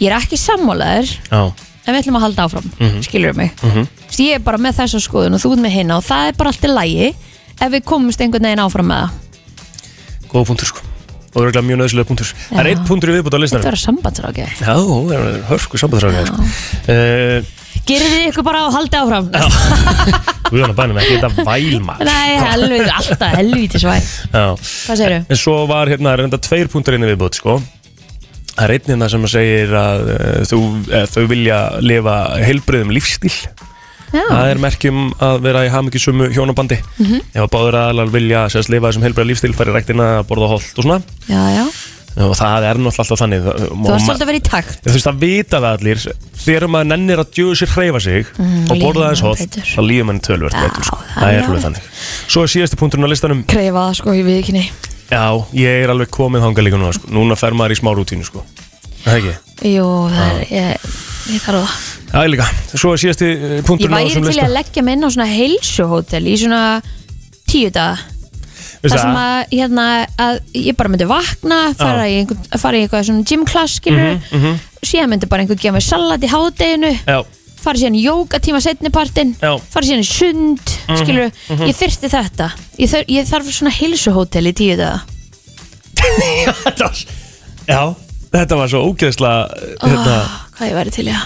ég er ekki sammálaður já, mhm. en við ætlum að halda áfram, mm skilur mig mm ég er bara með þessa skoðun og þú ert með hinna og það er bara allt í lægi ef við komumst einhvern veginn áfram með það góða punktur, sko og örgulega mjög nöðslega punktur það er Já. einn punktur í viðbútt á listanum þetta var sambandsrákja Já, það er hörku sambandræði sko. uh, gerið þið ykkur bara og haldið áfram Við erum að bænum ekki þetta vælma nei, helviti, alltaf helviti svæ hvað segirðu? En svo var hérna reynda tveir punktur inn í viðbútt sko. Það er einn hérna sem að segir að uh, þú, eh, þau vilja lifa heilbröðum lífstíl Já. Það er merkjum að vera í hamingisömu hjónabandi Mhm. Ef að báður aðalar vilja sérst, lifa þessum heilbröðum lífstíl fara í ræktina, borða holt og svona já, já, og það er náttúrulega alltaf þannig þú varst svolítið að vera í takt Þú veist það vita það allir Þegar maður nennir að djöðu sér hreyfa sig Og líður borða manni þess hótt betur. Það líður manni tölvert Já, betur sko. það Það er er alveg alveg. þannig Svo er síðasti punkturinn á listanum kreifa það sko í viðkynni Já, ég er alveg komið þangað líka núna sko. Núna fer maður í smá rútínu sko. Það er ekki jú, það er, ég, ég þarf það Það er líka Svo er síðasti eh, ég punkturinn á væri þessum til í lista að leggja mig inn á svona heilsuhótel í svona tíu daga Veistu Það sem það? að, hérna, að ég bara myndi vakna, fara, í, einhver, fara í eitthvað svona gym class, skilur, síðan myndi bara einhver gefa mig salat í hádeginu, Mhm, Já, fara síðan í jókatíma setnipartin, Já. Mhm, fara síðan í sund, skilur, ég þyrfti þetta. Ég, þarf, ég þarf svona heilsuhótel í tíu daga. Þetta var- Já, þetta var svo ógeðsla hérna, Ah, Eh. hvað ég væri til, já.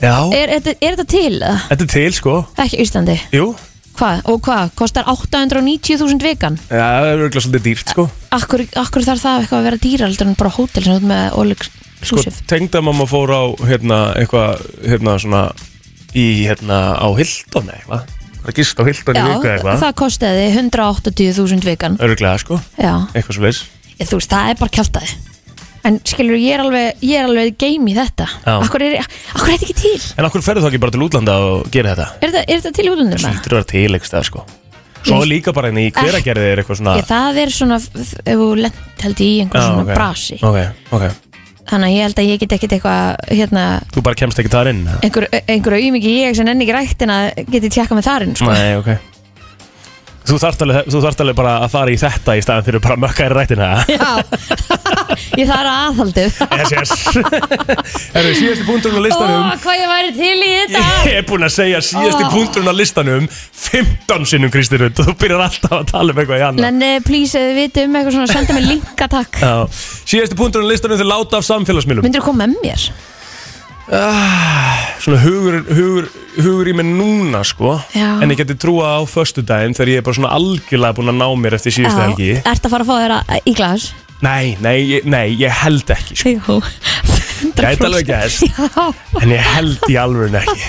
Já, Er, er, þetta- er þetta til? eða? þetta er til sko Ekki í Íslandi. Jú, Hvað? Og hvað? Kostar 890.000 vegan? Já, það er örgulega svolítið dýrt sko Akkur, akkur þarf það eitthvað að vera dýra heldur en bara hótel sem út með all exclusive? Sko, tengdamamma fór á hérna, eitthvað hérna, svona, í, hérna, á Hildon eitthvað að gista á Hilton í Já, viku eitthvað það kostiði 180.000 vikan Örglega, sko, Já, eitthvað svo leis ég, þú veist, það er bara kjátaði En skilur, ég er alveg, ég er alveg game í þetta Já. Akkur er, akkur er þetta ekki til? En okkur ferðu þá ekki bara til útlanda og gera þetta? Er þetta, er þetta til í útlundur með? Lítur að vera til eitthvað, sko Svo Ég- líka bara henni í hveragerði er eitthvað svona Ah, Ég, það er svona, f- ef þú lent held ég í einhver svona ok. brasi Ok, ok Þannig að ég held að ég get ekkit eitthvað, hérna Þú bara kemst ekki þar inn eða? einhver, einhver auðmiki ég sem enn ekki ræktin að geti tjekka með þarinn sko. Nei, ok Þú þarft, alveg, þú þarft alveg bara að fara í þetta í staðan fyrir bara að mökka í rættina Já, ég þarf aðhaldið Yes, yes Herru, síðasti punkturinn á Ó, listanum hvað ég væri til í þetta Ég er búinn að segja síðasti Ó. punkturinn á listanum 15 sinnum, Kristi Rund og þú byrjar alltaf að tala um eitthvað í annað En eh, please, ef þið vitið um eitthvað svona, senda mér linka takk Já. Síðasti punkturinn á listanum þau láta af samfélagsmiðlum Myndirðu koma með mér? Ah, Svona hugur, hugur, hugur í mig núna, sko Já. En ég geti trúa á föstudaginn þegar ég er bara svona algjörlega búinn að ná mér eftir síðustu helgi Ert að fara að fá þér að- í glas? Nei, nei, ég- nei, ég held ekki, sko Jú Gæti alveg gerst. En ég held í alvöru ekki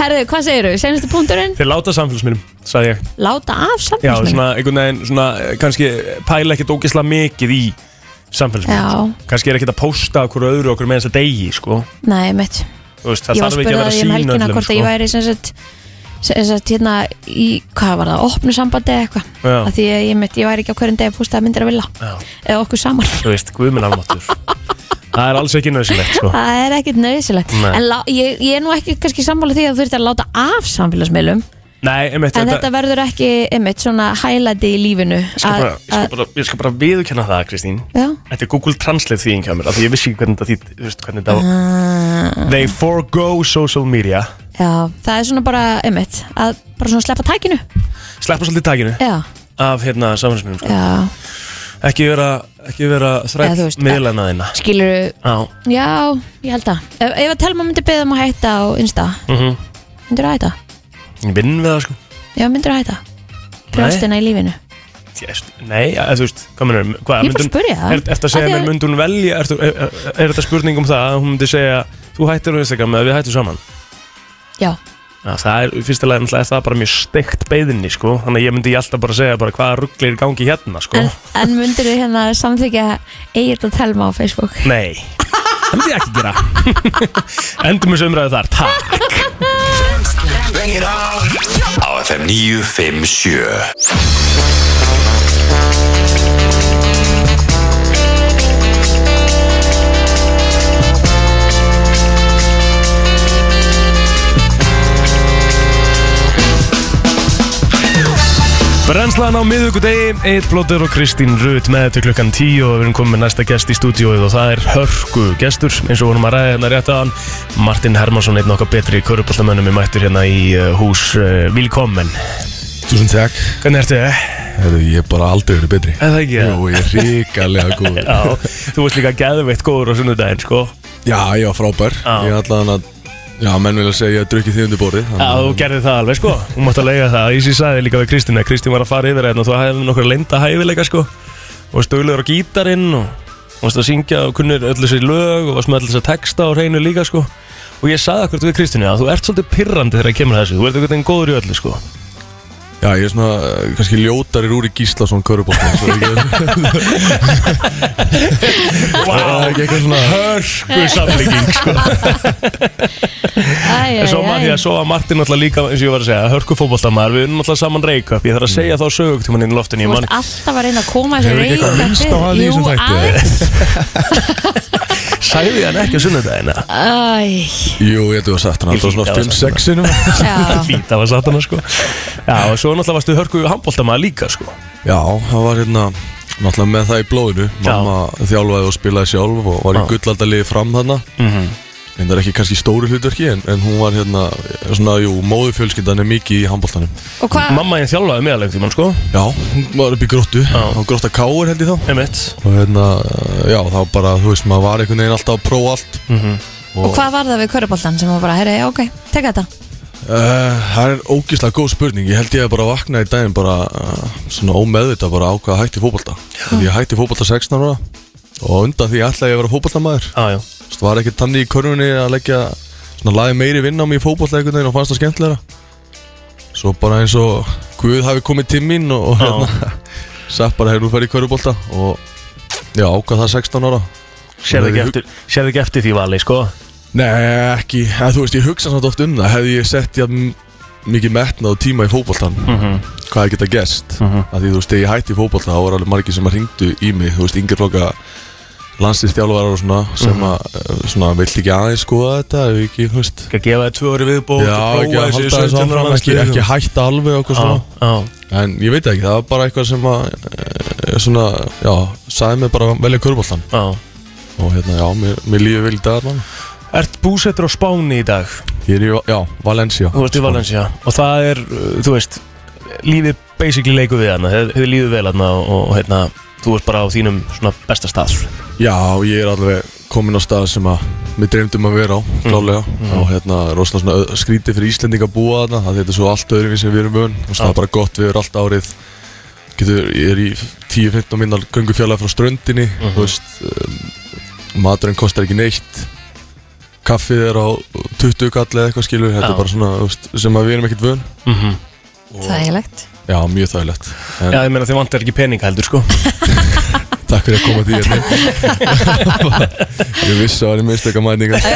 Herðu, hvað segirðu? Senastu punkturinn? Þeir láta samfélagsmiðlum, sagði ég Láta af Já, samfélagsmiðlum svona einhvern veginn, svona eh, kannski pæla ekkert ógeðslega mikið í samfélagsmiðlum sko. Kannski er ekkert að pósta okkur öðru okkur með þess að degi, sko Nei, mitt Þú veist, Það Ég var þarf ekki að spurðið vera að að ég um sína helgina öllum, hvort að sko ég væri sem sagt sem sagt hérna í, hvað var það, opnu sambandi eða eitthvað Já. Af því að ég, mitt, ég væri ekki á hverjum degi að pústa að myndir að vilja Já. eða okkur saman Þú veist, guðminn afmáttur Það er alls ekki nöðsilegt, sko Það er ekkit nöðsilegt Nei. En lá, ég, ég er nú ekki kannski sammála því að þú þurft að láta af samfélagsmiðlum Nei, einmitt, En þetta verður ekki, einmitt, svona hælæti í lífinu Ég skal að- bara- ég skal að- bara- Ég skal bara viðurkenna það, Kristín Já Þetta er Google Translate þýðing hjá mér af Því ég vissi ekki hvernig þetta þýtt, þú veist, hvernig þetta á They forgo social media Já, það er svona bara, einmitt, að bara svona sleppa tækinu Sleppa svolítið takinu Já, af hérna samfélagsmiðlum, sko já, ekki vera, ekki vera Eða þú þrætt veist, miðlana þína skilur Já, Já, ég held að Ef, ef að Telma myndi beða um að hætta á Insta Mhm. Myndir að hætta? ég vinn við það sko Já, myndir að hætta Brjóstina í lífinu Jæst, Nei, eða þú veist, hvað mennur hvað, Ég bara spurði það. er, Ertu að segja Af því mér, að- myndi hún velja ertu, er, er, er þetta spurning um það að hún myndi segja Þú hættir á Instagram eða við hættum saman Já, Já, það er, í fyrsta lagi náttúrulega er það bara mjög steikt beðinni sko Þannig að ég myndi alltaf bara segja bara hvaða rugglir gangi hérna sko en, en myndir þið hérna samþykja Egil og Telma á Facebook Nei, það myndi ég ekki gera Endum þessu umræðu þar, takk Bring it on Á FM 957 Brennslan á miðugudegi, Eitt Blóttur og Kristín Rut með til klukkan 10 og við erum komið með næsta gest í stúdíóið og það er hörku gestur eins og vorum að ræða hérna rétt aðan Martin Hermansson, einn okkar betri körubóltamönnum er mættur hérna í uh, hús uh, Vilkommen Tusen takk, Hvernig ertu? eh? Heru, ég hef bara aldrei verið betri Er það ekki? Jú, ég er ríkalega góð Já, þú varst líka geðveitt góður á sunnudaginn sko Já, ég var frábær Já. Ég er allan að, já, menn vilja segja að ég hef drukkið þið undir borðið Já, þú gerði það alveg sko Þú mátt að lega það, Ísi sagði líka við Kristín að Kristín var að fara yfir hérna og þú hafði nokkur leinda hæfileika sko og stöluður á gítarinn og varst að syngja og kunnir öll þessi lög og varst með öll þessi texta og hreinu líka sko og ég sagði akkur við Kristínu að þú ert svolítið pirrandi þegar kemur að þessu, þú ert einhvern veginn góður í öllu sko Já, ég er svona, eh, kannski ljótari Rúri Gíslason körubóttan Svo ég er Wow, ekki eitthvað svona hörsku samlíking sko Æ, æ, En svo man ég æ, að svo að Martin alltaf líka eins og ég var að segja, hörku fótboltamar, við erum alltaf saman reikup, ég þarf að segja þá sögugtuminn inn í loftinu, Þú ég man varst alltaf að reyna að koma þessu Hefur ekki eitthvað reyka minnst á fyrir. hann í Jú, þessum þætti, aðeins. Sæði hann ekki að sunnudagina Æ, Jú, ég hef þú að sagt hann, Ég það var hlýt svona að hafa sagt 5-6 sinum já Fýta var satana sko Já og svo náttúrulega varstu hörku handbóltamaður líka sko Já, það var hérna, náttúrulega með það í blóðinu Mamma þjálfaði og spilaði sjálf og var í Já. gullaldaliði fram þarna En það er ekki kannski stóru hlutverki en, en hún var hérna, svona, jú, móðufjölskyndan er mikið í handbóltanum. Og hvað, Mamma ég þjálfaði mig alveg tímann sko Já, hún var upp í gróttu, á grótta káur held ég þá. Emitt Og hérna, já, þá bara, þú veist, maður var einhvern veginn alltaf að prófa allt. og hvað var það við köruboltan sem var bara, herri, já, ok, teka þetta Uh, það er ógíslega góð spurning, ég held ég að bara vakna í daginn bara, uh, svona ómeðvita bara á hvað hætti fótbolta. Því ég hætti fótbolta 16 ára og undan því ætlaði ég að vera fótboltamaður. Ah, Já já Þú var ekki tannig í körfunni að leggja, svona, laði meiri vinn á mig í fótbolta einhvern veginn og fannst það skemmtilegra. svo bara eins og Guð hafi komið til mín og, og hérna Satt bara hefur nú ferið í körubólta og já, ákvað það 16 ára Sérðu ekki, eftir- sérðu ekki eftir því vali, sko Nei, ekki, eða, þú veist, ég hugsa samt oft um það Hefði ég sett jafn mikið metnað og tíma í fótboltan Hvað hefði geta gerst mm -hmm. Því þú veist, þegar ég hætti í fótbolta Þá var alveg margir sem að ringdu í mig Þú veist, yngir floka landslýstjálfarar og svona Sem að, eh, svona, vill ekki aðeins skoða þetta Ef ekki, þú veist Ekki að gefa þið tvö ári viðbót Já, og ekki prófa að þessu í halda þessu 17 ára áfram Ekki, næstu. ekki hætta alveg og okkur Já, svona já En ég veit ekki, það var bara eitthvað sem að eh, Svona, já, sagði mig bara að velja körbóltan Já. Og hérna, já, mér, mér lífi vel í dag allan Ert búsettur á Spáni í dag Ég er í, já, Valencia Þú ert í Valencia Og það er, uh, þú veist Lífið basically leiku við hana Þið þið líður vel hana og, og hérna Þú ert bara á þínum svona besta stað Já, ég er alveg komin á stað sem að mér dreymdum að vera á, Mm. klálega og hérna, rosalega svona ö- skrítið fyrir Íslending að búa þarna, að þetta er svo allt öðru sem við erum vön, og það Já. er bara gott við erum allt árið getur, ég er í 10-15 minnar göngufjallað frá ströndinni, Mhm. þú veist um, maturinn kostar ekki neitt kaffið er á 20 kall eða eitthvað skilur, þetta Já. er bara svona þú veist, sem að við erum ekkert vön mm -hmm. Þægilegt Já, mjög þægilegt, en Já, ég meina þið vantar ekki peninga heldur, sko takk fyrir að koma því hérna Ég vissi að það var í mistöka mæningar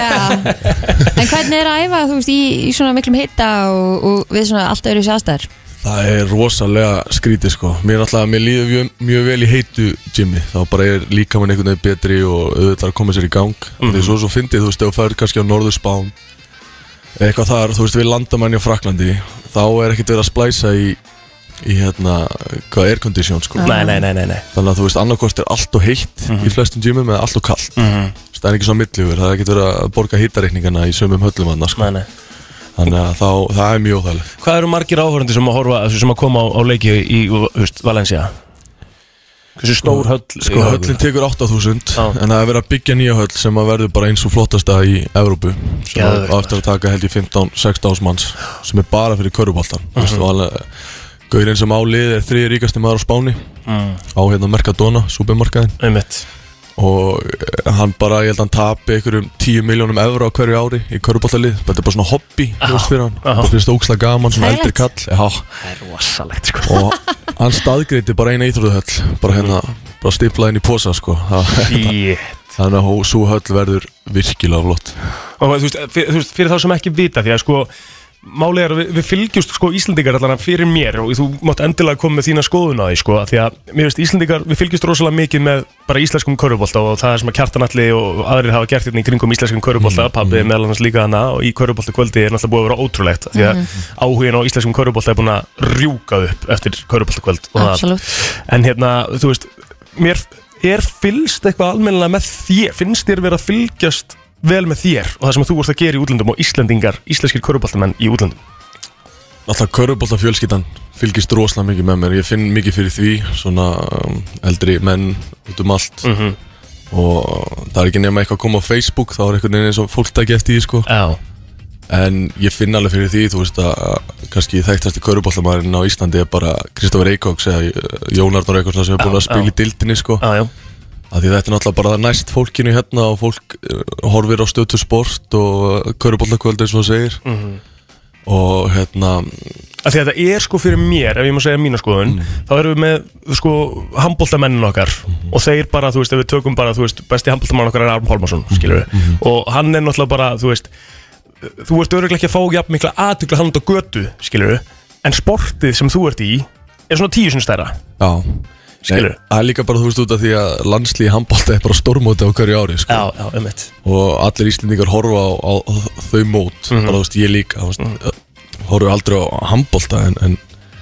En hvernig er að æfa þú veist í, í svona miklum hitta og, og við svona allt öðru sjástar Það er rosalega skrítið sko Mér er alltaf, mér líður mjög, mjög vel í heitu Jimmy, þá bara er líka mann einhvern veginn betri og auðvitað er að koma sér í gang mm Mhm. -hmm. Svo svo fyndið, þú veist, ef þú færð kannski á Norður Spán eitthvað þar, þú veist, við landamanni á Fraklandi þá er ekkert verið að splæsa í í hérna, hvað air condition sko Nei, Mhm. nei, nei, nei, nei Þannig að þú veist, annarkvort er allt og heitt í flestum gymum eða allt og kallt mm Mhm. -hmm. Það er ekki svo milljöfur, það er ekkert verið að borga hýtareikningana í sömum höllum annars sko. Nei, nei. Þannig að þá, það er mjög óþægilegt Hvað eru margir áhörandi sem að horfa sem að koma á, á leiki í þú veist, Valencia? Hversu stór höll Sko, höllin tekur 8000 Já. En það er verið að byggja nýja höll sem að verður bara eins og flottasta í Evrópu sem á Geðveikt, á eftir að taka held í 15-16 manns sem er bara fyrir köruboltan uh -huh. Gaurinn sem á lið er þriði ríkasti maður á Spáni á hérna Mercadona, supermarkaðin Einmitt og eh, hann bara, ég held að hann tapi einhverjum 10 miljónum evra á hverju ári í köruboltalið, þetta er bara svona hobby þú veist fyrir hann, já. það finnst ókslega gaman svona Þægilegt. eldri kall, já Það er rosalegt, sko og hann staðgreiti bara eina íþróðuhöll bara hérna, bara stiflaði inn í posa sko, það Shit. Þannig að hó- sú höll verður virkilega flott Og þú veist, fyrir, þú veist, fyrir þá sem ekki vita því að sko Málið er að við, við fylgjumst sko Íslendingar allan fyrir mér og þú mátt endilega koma með þína skoðun á því sko af því að mér veist Íslendingar, við fylgjumst rosalega mikið með bara íslenskum körubólta og það sem að kjartanalli og aðrir hafa gert hérna í kringum íslenskum körubólta, pabbi meðal annars líka hana og í körubólta kvöldi er náttúrulega búið að vera ótrúlegt því að áhugin á íslenskum körubólta er búin að rjúka upp eftir körubólta og það Absolutt En hérna, þú veist, mér er fylgst eitthvað almennilega með þér, finnst þér verið að fylgjast vel með þér og það sem þú vorst að gera í útlöndum og Íslendingar, íslenskir köruboltamenn í útlöndum. Alltaf körubólta fjölskyldan fylgist rosalega mikið með mér Ég finn mikið fyrir því Svona um, eldri menn út um allt Mhm. Og það er ekki nema eitthvað að koma á Facebook Þá er einhvern veginn eins og fólk tæki eftir því sko Já. En ég finn alveg fyrir því Þú veist að kannski þekktasti körubóltamæðurinn á Íslandi Er bara Kristofur Eikóks Eða eh, Jón Arnór Eikóks sem er búin Já, að spila í já. dildinni sko Já, já. Af Því þetta er náttúrulega bara næst fólkinu hérna og fólk eh, horfir á stötu sport og körubóltakvöld eins og það segir Mhm. og hérna Af því að þetta er sko fyrir mér, ef ég má segja mína skoðun, þá erum við með sko handbóltamennin okkar og þeir bara, þú veist, ef við tökum bara, þú veist, besti handbóltamenn okkar er Arn Holmarsson, skilur við, og hann er náttúrulega bara, þú veist, þú ert öruglega ekki að fá jafn mikla aðtökla hand og götu, skilur við, en sportið sem þú ert í er svona tíu sinni stærra, Já Skilurðu? Nei, Það er líka bara þú veist út af því að landslíði handbólta er bara stórmóti á hverju ári sko. Já, já, um eitt og allir íslendingar horfa á, á, á þau mót Mhm. bara þú veist ég líka þú veist, mm horfa aldrei á handbólta en, en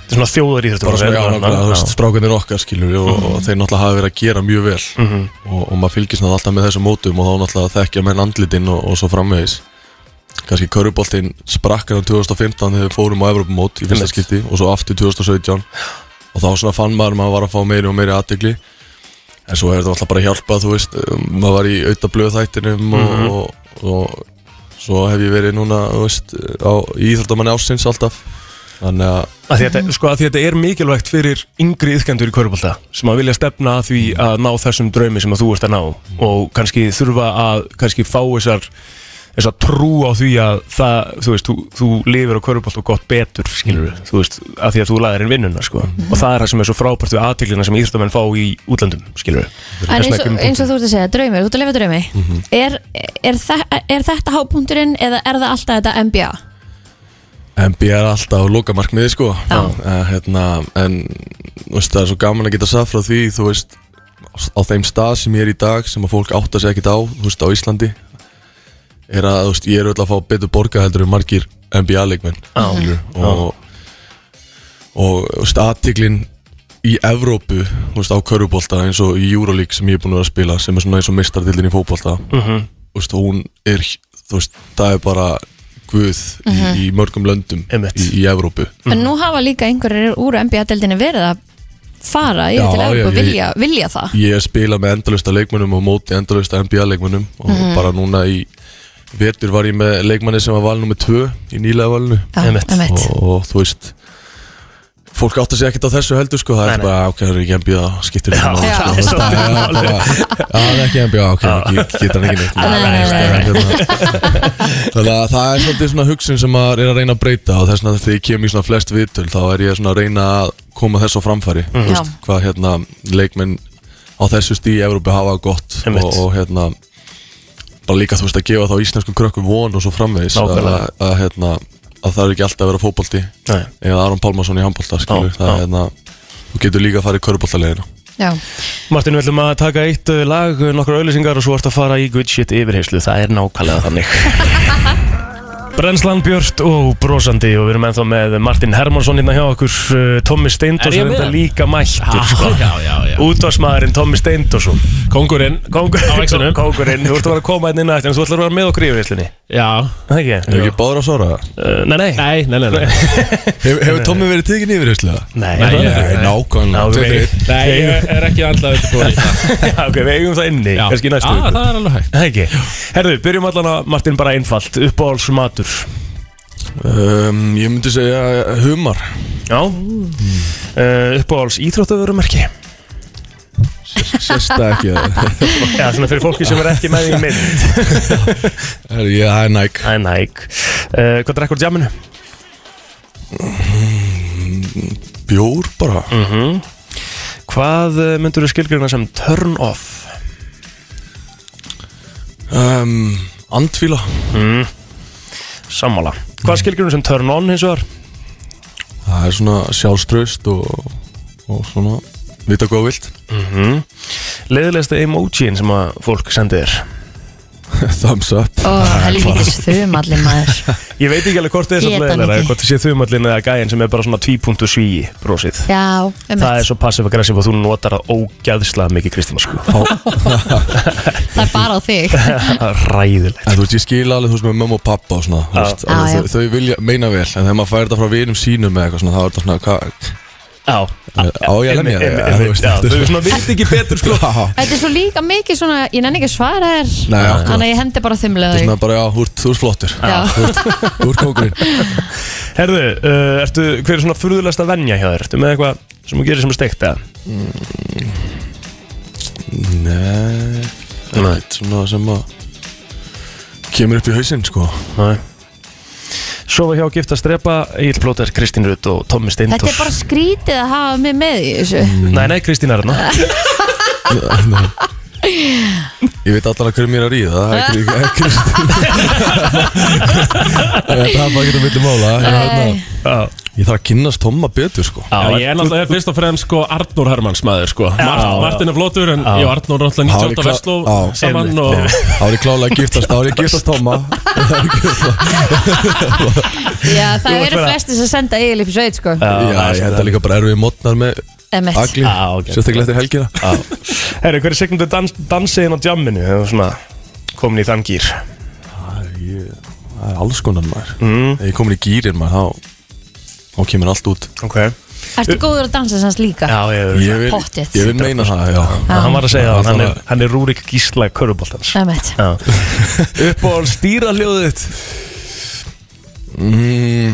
Þetta er svona þjóðar íþjóttur bara svona já, nákvæmlega, þú veist, strákanir okkar skilur við, og, Mhm. og þeir náttúrulega hafa verið að gera mjög vel og, og maður fylgist náttúrulega alltaf með þessum mótum og þá náttúrulega þekkja menn andlitinn og, og svo framvegis kannski köruboltinn sprakkar á 2015 þegar við fórum á Evropamót í fyrsta Einmitt. skipti og svo aftur 2017 og þá svona fann maður að maður var að fá meiri og meiri aðdegli en svo er þetta alltaf bara að hjálpa þú veist, um, maður var í auðablöð þættinum Mhm. og, og, og svo hef ég verið núna þú veist, á, í Íþróttamanni ásins alltaf þannig að Af því þetta, sko, af því þetta er mikilvægt fyrir yngri yðkendur í kvörbólta sem að vilja stefna að því að ná þessum draumi sem að þú ert að ná og kannski þurfa að kannski fá þessar þess að trú á því að það, þú veist, þú, þú lifir á körfubolt og gott betur, skilur við, þú veist, af því að þú laðir inn vinnuna, sko, og það er það sem er svo frábært við aðtöklina sem íþróttamenn fá í útlandum, skilur við. En eins og, eins og þú ert að segja, draumur, þú ert að lifa draumi Mhm. er, er, þe er þetta hápunkturinn eða er það alltaf þetta NBA? NBA er alltaf lokamarkmiði sko Já. Eh, hérna, En þú veist, það er svo gaman að geta sagt frá því Þú veist, á þeim stað sem ég er í dag Sem að fólk átta sig ekkit á Þú veist, á Íslandi Er að, þú veist, ég er öll að fá betur borga heldur en margir NBA-leikmenn Já Og, og þú veist, aðtiklin í Evrópu, þú veist, á körfubolta eins og í Euroleague sem ég er búin að vera að spila sem er svona eins og mistardildin í fótbolta þú veist, hún er þú veist, það er bara guð í, í mörgum löndum Einmitt. í, í Evrópu En nú hafa líka einhverjir úr NBA-deldinni verið að fara yfir Já, til Evrópu já, og ég- vilja, vilja það ég spila með endalösta leikmönnum og móti endalösta NBA leikmönnum og bara núna í vetur var ég með leikmanni sem var valin nummer 2 í nýlega valinu Já, Einmitt. einmitt. og, og þú veist fólk átt að segja ekkert á þessu heldur sko, það Nei, er nei. bara, ok, það er ekki NBA skiptir ekki máli, já, sko. það Þú er veist, það er bara, "Já, það er ekki NBA, ok, ekki- getur hann ekki neitt Nei, nei, nei, Það er hérna- þannig að það er svolítið svona hugsun sem maður er að reyna að breyta og þess vegna þegar ég kem í svona flest viðtöl þá er ég svona að reyna að koma þess á framfæri þú veist, Já. hvað hérna leikmenn á þessu stíð í Evrópi hafa gott Einmitt. og, og hérna bara líka þú veist að gefa þá íslenskum krökkum von og svo framvegis að, að, Nákvæmlega. að, hérna, að það er ekki alltaf að vera fótbolti Nei. eða Aron Pálmarsson í handbolta skilur, Já, það já. er hérna þú getur líka að fara í körboltalegina Já. Martin, við ætlum að taka eitt uh, lag, uh, nokkur auðlýsingar og svo ertu að fara í good shit yfirheyslu, það er nákvæmlega þannig. Brennslan Björn og brosandi og við erum ennþá með Martin Hermansson hérna hjá okkur, uh, Tommi Steindors Er ég er með þetta hann? líka mættur, sko. Já, já, já Útvarsmaðurinn Tommi Steindorsson Kongurinn Á Kóngurinn, vextinum kóngurinn, þú ert að vera að koma hérna inn inn að þetta en þú ætlar að vera með okkur í yfirheyslunni Já Það er er ekki? ekki báður að svara það? Uh, Nei, nei Nei, nei, nei, nei Hef, hefur Tommi verið tekin yfir þessulega? Nei, Nei, nei, ég- nei. nákvæmlega Ok. Tvö, þrír. Nei, ég er ekki andlað undirbúin í það Já, ok, við eigum það inni, Já. Ah. kannski í næstu Já, viku. það er alveg hægt Það er ekki? Herðu, byrjum allan að Martin bara einfalt Uppáhalsmatur um, ég myndi segja eh, humar Já uh, Uppáhals íþróttavörumerki sérsta ekki það Já, svona fyrir fólki sem er ekki með í mynd er ég það er næk Það er næg uh, Hvað drekkur djáminu? bjór bara Hvað uh, myndur þú skilgjörna sem turn off? um, andfíla Sammála Hvað skilgjörna sem turn on hins vegar? það er svona sjálfströst og, og svona vita hvað þú vilt Leðilegsta emojín sem að fólk sendi þér thumbs up Ó, helvítis þumalli maður Ég veit ekki alveg hvort þið er Ég svo veit það leðilega ekki. Hvort þið sé þumallin eða gæin sem er bara svona tvípunktu svíi brosið Já, um Það er svo passiv-aggressiv og þú notar það ógæðslega mikið Kristína sko það er bara á þig Ræðilegt En þú veist, ég skil alveg þú veist með mömmu og pappa og svona þú Já. veist, Já, alveg, já. Þau, þau vilja meina vel, en þegar maður fær þetta frá vinum sínum eða eitthvað svona, þá er þetta svona, hvað, Já á ég að lemja þig? Einmitt, Já, þú einmitt, veist, já, þetta er Þú svona- svona vilt ekki betur sko Þetta Þetta er svo líka mikið svona, ég nenni ekki að svara þér Nei, akkurat. Þannig að ég hendi bara þumlega er þig svona bara, já, þú ert- þú ert flottur, Já. þú ert- þú ert kókurinn. Herðu, uh, ertu, hver er svona furðulegsta venja hjá þér? Ertu með eitthvað sem þú gerir sem er steikt eða? Nei, það er svona sem að kemur upp í hausinn, sko. Nei Sofa hjá gift að strepa, Egil Plóter, Kristín Rutt og Tommi Þetta er Steindors bara skrítið að hafa mig með í þessu Nei, nei, Kristín er hérna Ég veit allan að hverju mér er að ríða, það er ekki- ekki Kristín. Það er bara ekki að vilja mála. Ég, hérna, Já, ég þarf að kynnast Tomma betur, sko. Já, ég er náttúrulega fyrst og fremst sko Arnur Hermanns maður sko Mart, já. Martin er flottur en ég og Arnur er náttúrulega Já, 98 líklega- vestló já. saman og Þá er ég klálega að giftast, þá er ég að giftast Tomma. Já, ert það eru bara- flesti sem senda Egil upp í sveit sko Já, ég held að líka bara erfið mótnar með Emmett. agli, Já, ok. sérstaklega eftir helgina Herru, hver er sekundu dans, dansiðin á djamminu? Það var svona komin í þann gýr Ég- Það er alls konar maður Þegar ég er komin í gýrin maður, þá þá kemur allt út Ok Já, Ertu góður að dansa sanns líka? ég Ég vil, Pottþétt. ég vil meina það, já Hann var að segja það, Já, hann, það er- hann er Rúrik Gísla Köruboltans Emmett. Uppból stýra hljóðið þitt mm,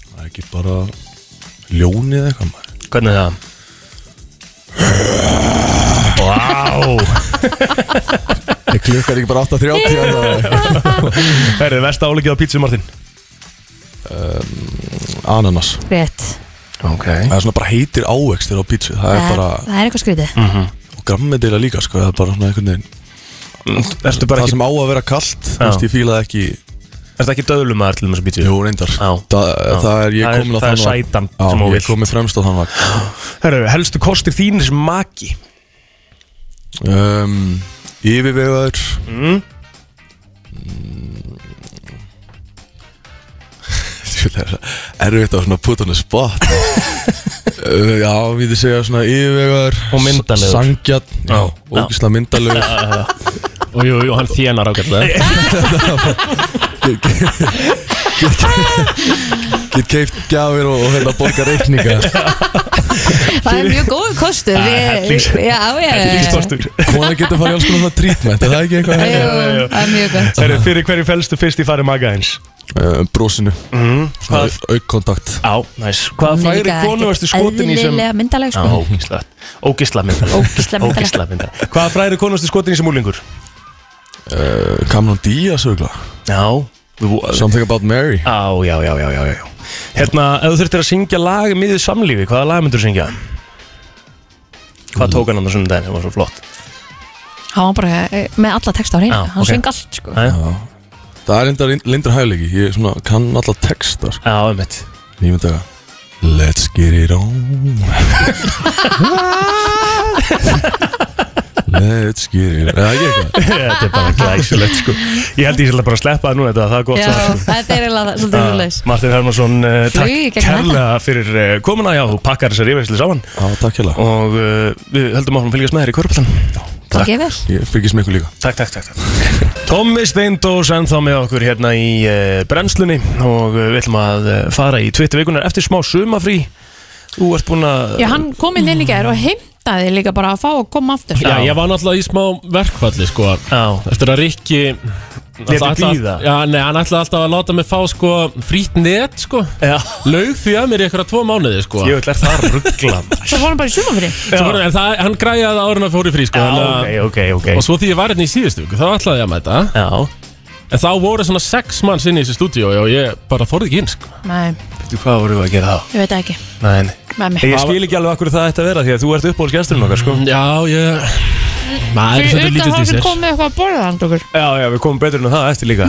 Það er ekki bara ljónið eða eitthvað maður Hvernig er það? Vá Ég Klikkar ekki bara 8.30 allavega. Herri, versta áleikið á pítsu, Martin Ananas Rétt Ok Það er svona bara heitir ávextir á pítsu Það er bara, það er eitthvað skrítið Mm. og grammedila líka sko, það er bara svona einhvern veginn Ertu bara Það ekki, sem á að vera kallt, þú veist, ég fílaði ekki ertu ekki döðlum að til þessu pítsu? Jú, reyndar Já. Þa, Það er, Það ég er- komin á það er þann vagn. sætan Já, sem hún Ég vill. er komin fremst á þann vagn Herru, helstu kostir þínir sem maki um, Yfirvegaður mm. Það er erfitt að svona put on the spot Uh, Já, við þið segja svona yfirvegaður Og myndarlegur. Sangjarn, já, Já. ógislega myndalegur Og jú, jú, hann þjenar Eh. ágætlega Get keift gjafir og, og hérna borga reikninga Það er mjög góð kostur hellings- Ég- Já, já Hellingskortur Kona getur farið í alls konar svona treatment Er það ekki eitthvað Jú, já, hérna? já. Það er mjög gott Herru, fyrir hverju felstu fyrst í fari maga eins? Uh, Brósinu Hvað- Aukkontakt Já, næs Hvaða Hún er færi líka konu ekkert varstu skotin í sem Eðlilega myndaleg Já, sko ógísla Ógísla myndaleg Ógeðslega myndarleg. Ógeðslega myndarleg. Hvaða fræri konu varstu skotin í sem úlingur? uh, Cameron Diaz örugglega. Já Svo Something about Mary Á, já, já, já, já, já. Hérna, ef þú þurftir að syngja lag miðið samlífi, hvaða lag myndur þú syngja? Hvað tók hann annars um daginn sem var svo flott? Há hann bara eh, með alla texta á hreinu Já, Hann ok. syng allt sko Æ? Það er reyndar lindar hæfleiki Ég svona, kann alla texta sko. Já, einmitt. En Ég myndi að Let's get it on Let's get it on Það er ekki eitthvað Þetta er bara glæsilegt, sko. Ég held ég sérlega bara að sleppa það núna þetta, það er gott Já, svar, sko. þetta er eiginlega það- svolítið húleis Ah, Martin Hermansson, uh, Flug í takk gegnum kærlega fyrir uh, komuna, já, þú pakkar þessar yfirherslu saman Já, takk hjá og uh, við höldum áfram að fylgjast með þér í korfbóltan. Takk ég vel Ég fyrkist með ykkur líka Takk, takk, takk, takk. Tommi Steindós ennþá með okkur hérna í uh, brennslunni og uh, við ætlum að uh, fara í tvittu vikunar eftir smá sumafrí Þú ert búin að Já, hann kom inn inn í gær og heimtaði líka bara að fá að koma aftur Já, ég var náttúrulega í smá verkfalli sko Já. Eftir að Rikki Ætla- ætla- bíða? Já, nei, hann ætlaði alltaf að láta mig fá sko frýtt net sko Já, Laug því að mér í einhverja tvo mánuði sko ég vil er það ruggla Svo fór hann bara í sumafri Svo var, en það, hann græjaði árin að fóri frí sko Já, þannig að- ok, ok, ok Og svo því ég var hérna í síðustu viku, þá ætlaði ég að mæta Já, En þá voru svona sex manns inn í þessu stúdíu og ég bara þorði ekki inn sko Nei, veitu hvað voru að gera þá? ég veit það ekki Nei, nei. Með mig Ég skil ekki alveg akkur það ætti að vera því að þú ert uppbólsgesturinn okkar sko Já, ég Maður er Fyrir utan svolítið lítið hann til sem sér kom með eitthvað að borða hann okkur Já, já, við komum betur en það eftir líka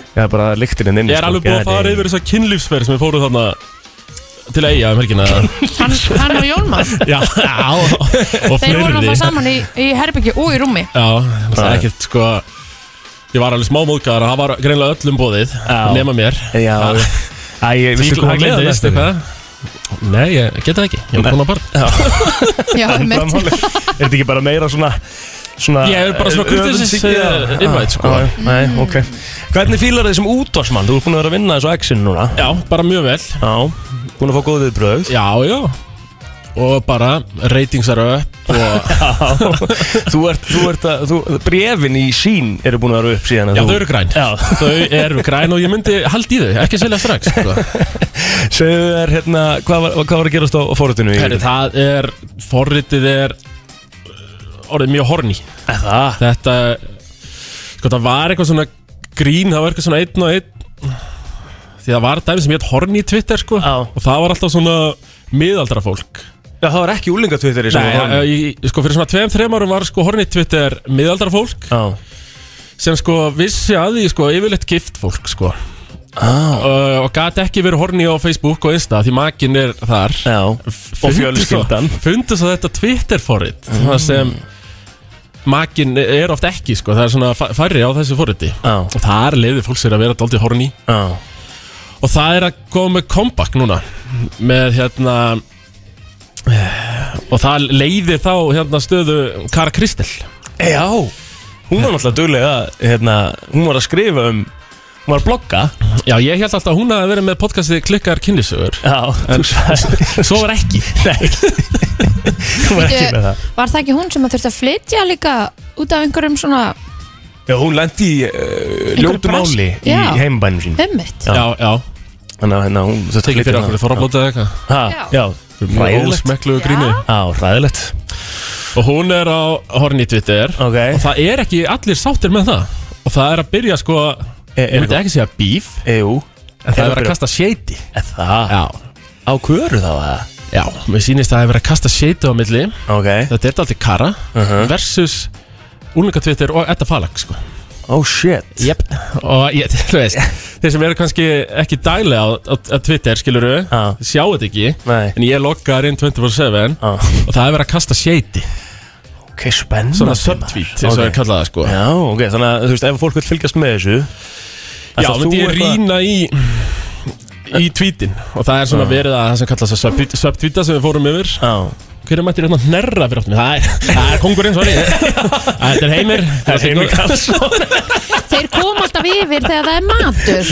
Já, bara lyktininn inn sko. Ég er alveg búið að fara yfir þessa kynlífsferð sem ég fóruð þarna til eiga um helgina Hann, hann og Jónmann Já, já og og Þeir voru fleiri náttúrulega saman í, í herbyggju og í rúmi Já, það Já. er ekkert sko Ég var alveg smá móðgæðar og það var greinlega öllum bóðið Já. nema mér Já, Það- Æ, ég- Því veistu hvað það hann leiðist gleðist eitthvað Nei, ég geta það ekki, ég er búin að barn Já, Það mitt máli. Er þetta ekki bara meira svona svona Ég er bara svona kurteisins, Já, eh, já, invite, sko. já, já, Nei, ok Hvernig fílar þið sem útvarsmann? Þú ert búin að vera að vinna þessu exin núna Já, bara mjög vel Já Búin að fá góð viðbröð Já, já Og bara, ratings eru upp og, Þú ert, þú ert að þú, Brefin í sín eru búin að vera upp síðan að Já, þú, þau eru græn Já. Þau eru græn og ég myndi haldi í þau, ekki selja strax sko. Segðu þér hérna Hvað var, hvað var að gerast á, á fórhundinu? Herri, það er, forritið er uh, orðið mjög horni Það Þetta, sko það var eitthvað svona grín, það var eitthvað svona einn og einn Því það var dæmi sem ég hett horni í Twitter sko Já. Og það var alltaf svona miðaldra fólk Já, það var ekki úlingatvittir í sem var Nei, horfinn. ég, sko fyrir svona tveim, þreim árum var sko horni í Twitter miðaldra fólk Já Sem sko vissi að því sko yfirleitt gift fólk sko Já uh, Og gat ekki verið horni á Facebook og Insta því makin er þar Já Eh, Og fjölskyldan Mm. Fundu svo þetta Twitter-forrit Það sem Makin er oft ekki sko Það er svona fa- færri á þessu forriti Já. Og þar leiði fólk sér að vera daldið horni Já Og það er að koma með comeback núna Með hérna eh, Og það leiði þá hérna stöðu Kara Kristel Já Hún var náttúrulega duglega hérna, Hún var að skrifa um Hún var að blogga Já, ég held alltaf að hún að vera með podcastið Klikkar kynlisögur Já, þú sagði Svo var ekki Nei Hún var ekki með það Var það ekki hún sem að þurfti að flytja líka út af einhverjum svona Já, hún lendi í uh, ljótu brask- máli í Já. heimabænum sín ummitt Já. Já, já, Þannig að hérna, hún þurfti að tekið fyrir flytja okkur hana. Þorrablótið eða eitthvað Ha, Já, Mjög ræðilegt ósmekkluðu gríni Já, ræðilegt og hún er á Horny Twitter Ok. og það er ekki allir sáttir með það og það er að byrja sko Er- ég er myndi eitthvað? ekki segja bíf Jú en það er að kasta shady Er það? já, Á kvöru þá eða? já, mér sýnist að það hefur verið að kasta shady á milli Ok þetta er alltaf kara Uh-huh. versus úlingatwitter og etta falag sko Oh shit Jep, og ég, þú veist Þeir sem eru kannski ekki dæli á, á, á Twitter, skiluru Já. Sjá þetta ekki Nei. En ég loggar inn 24-7 Já. Og það er verið að kasta shady Ok, spennandi Svona maður. subtweet, eins og það er kallað það sko Já, ok, þannig að þú veist, ef fólk vil fylgjast með þessu Já, ætlar myndi þú ég eitthvað- rýna í Í tweetin Og það er Ah. svona verið að það sem kallast að subtweet- subtweeta Sem við fórum yfir Já, Hver er mættir hérna að hnerra fyrir áttum Það er, það er kongurinn, sorry Þetta er heimir það er heimil kalls Þeir kom alltaf yfir þegar það er matur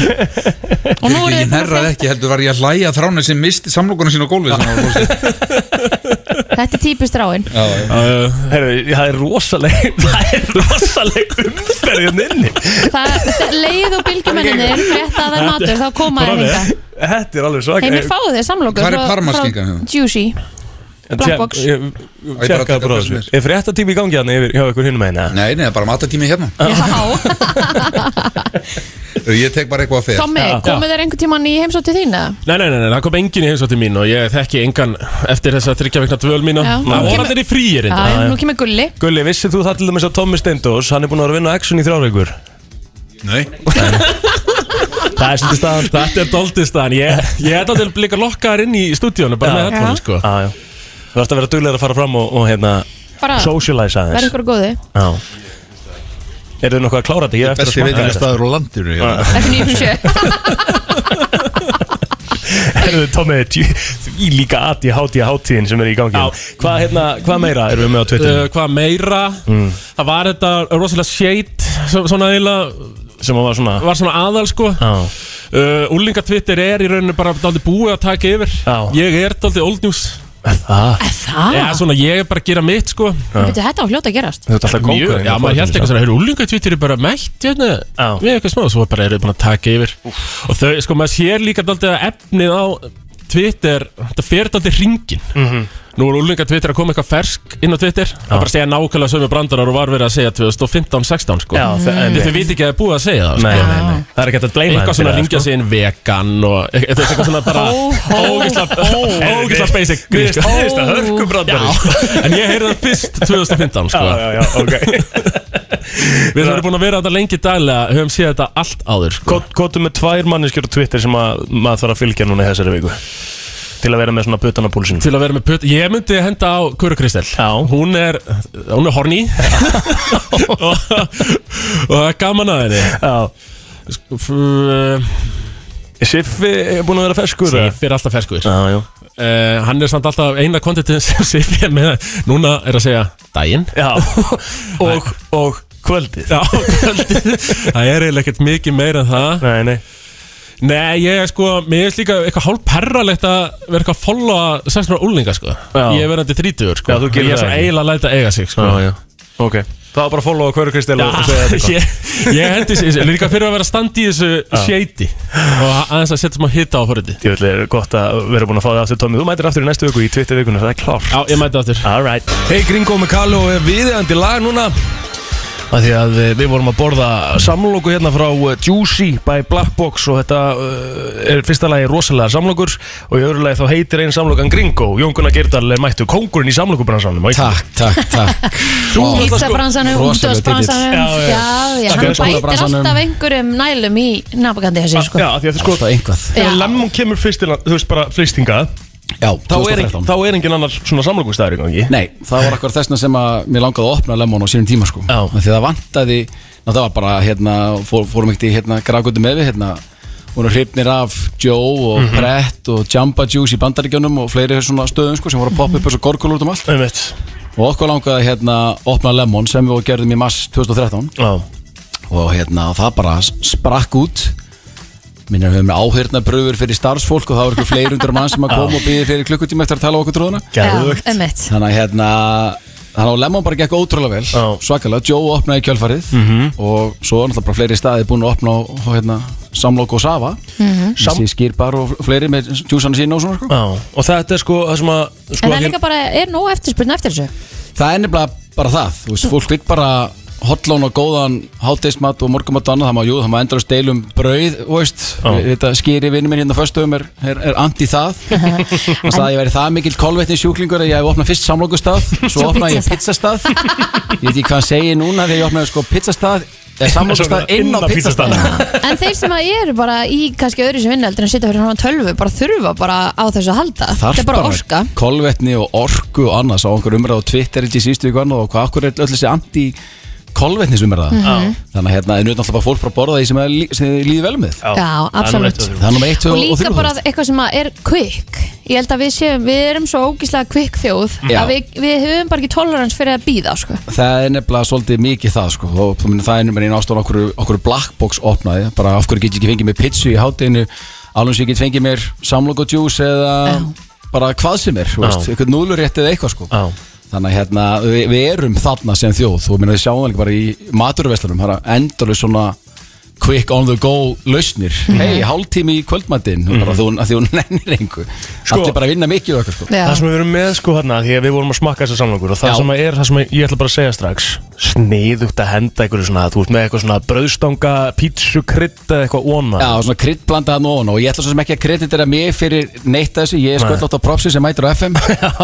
Og nú Ég er nærraði ekki, heldur var ég að hlæja að þrána sem misti samlokuna sín á gólfið sem hann var fórst. þetta er típist ráin Já, já. uh, Herru, það er rosaleg Það er rosaleg umferðin inni Það leið og bylgjumenninir frétta að það er matur, þá koma þeir hinga Þetta er alveg svaka Heimir fáðu þér samlokur Hvar er frá- parmaskinkan frá hérna? Juicy Black Box. Ég bara tjekkaði taka bara á hvað sem þessu Er frétta tími í gangi hann yfir hjá ykkur hinum eina? Nei, nei, það er bara matatími hérna Já, Ég tek bara eitthvað að fer Tommi, komu þeir einhvern tíman í heimsóttu þína? Nei, nei, nei, nei, það kom engin í heimsótti mín og ég þekki engan eftir þess að þryggja vegna dvöl mína Já. Það Nú voru kemur- allir í frýir Já, enda nú kemur Gulli Gulli, vissið þú það til dæmis að Tommi Steindós Hann er búin að vera að vinna á Action í þrjáreikur Nei, Það er svolítið staðan sko. Þetta er doldistæðan, ég, ég ætla til líka lokkaðar inn í stúdíónu Já. bara með headphone, Já. Já, sko Ah, já Þú ætti að vera duglega að fara fram og, og hérna Bara, Socialize verð aðeins Ah. ykkur góði Já Er þau nokkuð að klára þetta? Ég er eftir að besti smakka veitingar þetta staður á landinu já. Þetta er nýjum sjö Herðu, Tommi, djú- því líka aði hátíð hátíðin sem er í gangi Já. Hvað, hérna, hvað meira erum við með á Twitter? uh, Hvað meira, Mm. það var þetta rosalega shade, svo- svona eiginlega, sem að Uh, var svona var svona aðal, sko Já, uh, Úlingatwitter er í rauninu bara daldi búið að taka yfir Já. Ég er daldi old news það Það? Já, svona ég er bara að gera mitt, sko Byrju, Þetta á hljóta að gerast Þú ert alltaf Mjög, kókur já, maður held eitthvað svona, heyrðu, úlingatvítir er bara mætt, hérna, Já. við eitthvað smá, svo bara eru þau búin að taka yfir. Og þau, sko, maður sér líka daldið að efnið á Twitter, þetta fer daldið ringin. Mhm. Nú er úlingatvítir að koma eitthvað fersk inn á Twitter, það bara segja nákvæmlega sömu brandarar og var verið að segja 2015-16, sko. Já, þe- en- Þið- þau veit ekki að það er búið að segja það, sko. Nei, nei, nei, það er ekki hægt að bleima Eitthvað svona ringja sig inn vegan og e- þetta er eitthvað svona bara ógisla ógisla basic grín, sko. Grist að hörkubrandari En ég heyrði það fyrst 2015 sko. Já, já, já, ok Við erum búin að vera þetta lengi daglega Höfum séð þetta allt áður sko. Kvotum með tvær manneskjur á Twitter sem að maður þarf að fylgja núna í þessari viku Til að vera með svona puttana púlsin Til að vera með putt Ég myndi henda á Kuru Kristel Já. Hún er Hún er horny og, og það er gaman að henni Já, F- Siffi er búin að vera feskur eða? Sif er alltaf ferskur uh, Já, já Hann er samt alltaf eina kontentin sem Sif er með Núna er að segja Dæin Já, og, og kvöldið Já, kvöldið. það er eiginlega ekkert mikið meira en það Nei, nei Nei, ég er sko, mér finnst líka eitthvað hálf perralegt að vera eitthvað að followa 16 ára úlinga sko Já. Ég er verandi 30 sko Já, þú gerir Ég er það svo ekki. eiginlega að læta eiga sig sko já Ok, það var bara að followa hverju Kristel og og segja þetta eitthvað. ég, ég hendi sér líka fyrir að vera standi í þessu shady og aðeins að setja smá hita á forriti Ég vil er gott að vera búin að fá það aftur Tommi, þú mætir aftur í næstu viku í Twitter vikuna, það er klart Já, ég mæti aftur Alright Hey Gringo með Kalo er viðeigandi lag núna að Því að eh, við vorum að borða samloku hérna frá eh, Juicy by Black Box og þetta uh, er fyrsta lagi rosalega samlokur og í öðru lagi þá heitir einn samlokan Gringo Jón Gunnar Gerdal er mættu kongurinn í samlokubransanum Takk, takk, takk sko Pizzabransanum, Rosalega útdóðsbransanum titill. Já, Já, já. já, Takk hann fyrir bætir skólabransanum. alltaf einhverjum nælum í nabagandi þessi sko Já, af því að sko Alltaf einhvað Þegar Já. Lemon kemur fyrst til þú veist bara flistinga Já, þá er, engin, 2013 þá er engin annar svona samlokustæður í gangi Nei, það var akkur þessna sem að mér langaði að opna lemon á sínum tíma sko Já. Af Því það vantaði, ná, það var bara hérna, fór, fórum ekkert í hérna grafgötu með við hérna voru hrifnir af Joe og Brett og Jamba Juice í bandaríkjunum og fleiri svona stöðum sko sem voru að poppa upp þessu gorkul út um allt Um eitt og okkur langaði hérna að opna lemon sem við gerðum í mars 2013 Já og hérna og það bara s- sprakk út minnir að við höfum með áhyrnabröfur fyrir starfsfólk og það var eitthvað fleiri undur mann sem að koma og byggði fyrir klukkutíma eftir að tala á okkur tróðuna Geðvögt Ömmett þannig að hérna þannig að Lemon bara gekk ótrúlega vel Já. svakalega, Joe opnaði kjölfarið og svo var náttúrulega bara fleiri staði búin að opna og, og hérna, samlokk og safa mm -hmm. þessi skýrbar og fleiri með djúsana sína og svona sko. Já, og þetta er sko það sem að sko, En það er hér- líka bara, er nóg eftirspurn eftir þessu það er nefnilega bara það þú veist, fólk lík bara hotlón og góðan hátdeismat og morgumat og annað, það má, jú, það má endur að steilum brauð, þú veist, þetta skýri vinnum minn hérna á föstum er, er, er anti það hann sagði að ég væri það mikil kolvetni sjúklingur að ég hef opnað fyrst samlokustaf svo opnaði ég pizzastaf ég veit ekki hvað hann segir núna þegar ég opnaði sko pizzastaf eða samlokustaf inn á pizzastaf En þeir sem að eru bara í kannski öðru sem vinna heldur en að sitja fyrir hann tölvu bara þurfa bara á þessu að halda Þetta er bara orka kolvetni og orku og annað sá einhver umræð á Twitter ekki sístu ykkur annað og hvað akkur er öll þessi anti kolvetnisumræða Mhm. þannig að hérna er nú náttúrulega bara fólk bara að borða því sem, er, lí- sem þið líði vel með Já, Já, absolutt. það er númer eitt og þrjú. það er nummer og líka 1 og 3 bara eitthvað sem að er quick ég held að við séum, við erum svo ógíslega quick þjóð Já. að við, við höfum bara ekki tolerance fyrir að býða sko. það er nefnilega svolítið mikið það sko. og þú minnir það er nummer einu ástofan okkur, okkur black box opnaði, bara af hverju get ég ekki fengið mér pizzu í hátteginu, alveg sem ég get fengið mér samlokk og juice eða bara hvað sem er, þú Já. veist, eitthvað núlurétt eða eitthvað sko Já. Þannig að hérna, við, við erum þarna sem þjóð og minna, við sjáum það líka bara í maturveslunum það er endurlega svona quick on the go lausnir hei, hálftími í kvöldmattin mm -hmm. þú, að því hún nennir einhver Mhm. Sko- allir bara vinna mikið og eitthvað sko Það sem við erum með sko hérna Því að við vorum að smakka þessar samlokur Og það Já. sem er, það sem ég ætla bara að segja strax Sniðugt að henda einhverju svona Þú ert með eitthvað svona brauðstanga, pítsu, krydd eða eitthvað óna Já, svona krydd blandaða nóðan og ég ætla svo sem ekki að kreditera mig fyrir neitt af þessu, ég er Nei. sköldlátt á propsi sem mætir á FM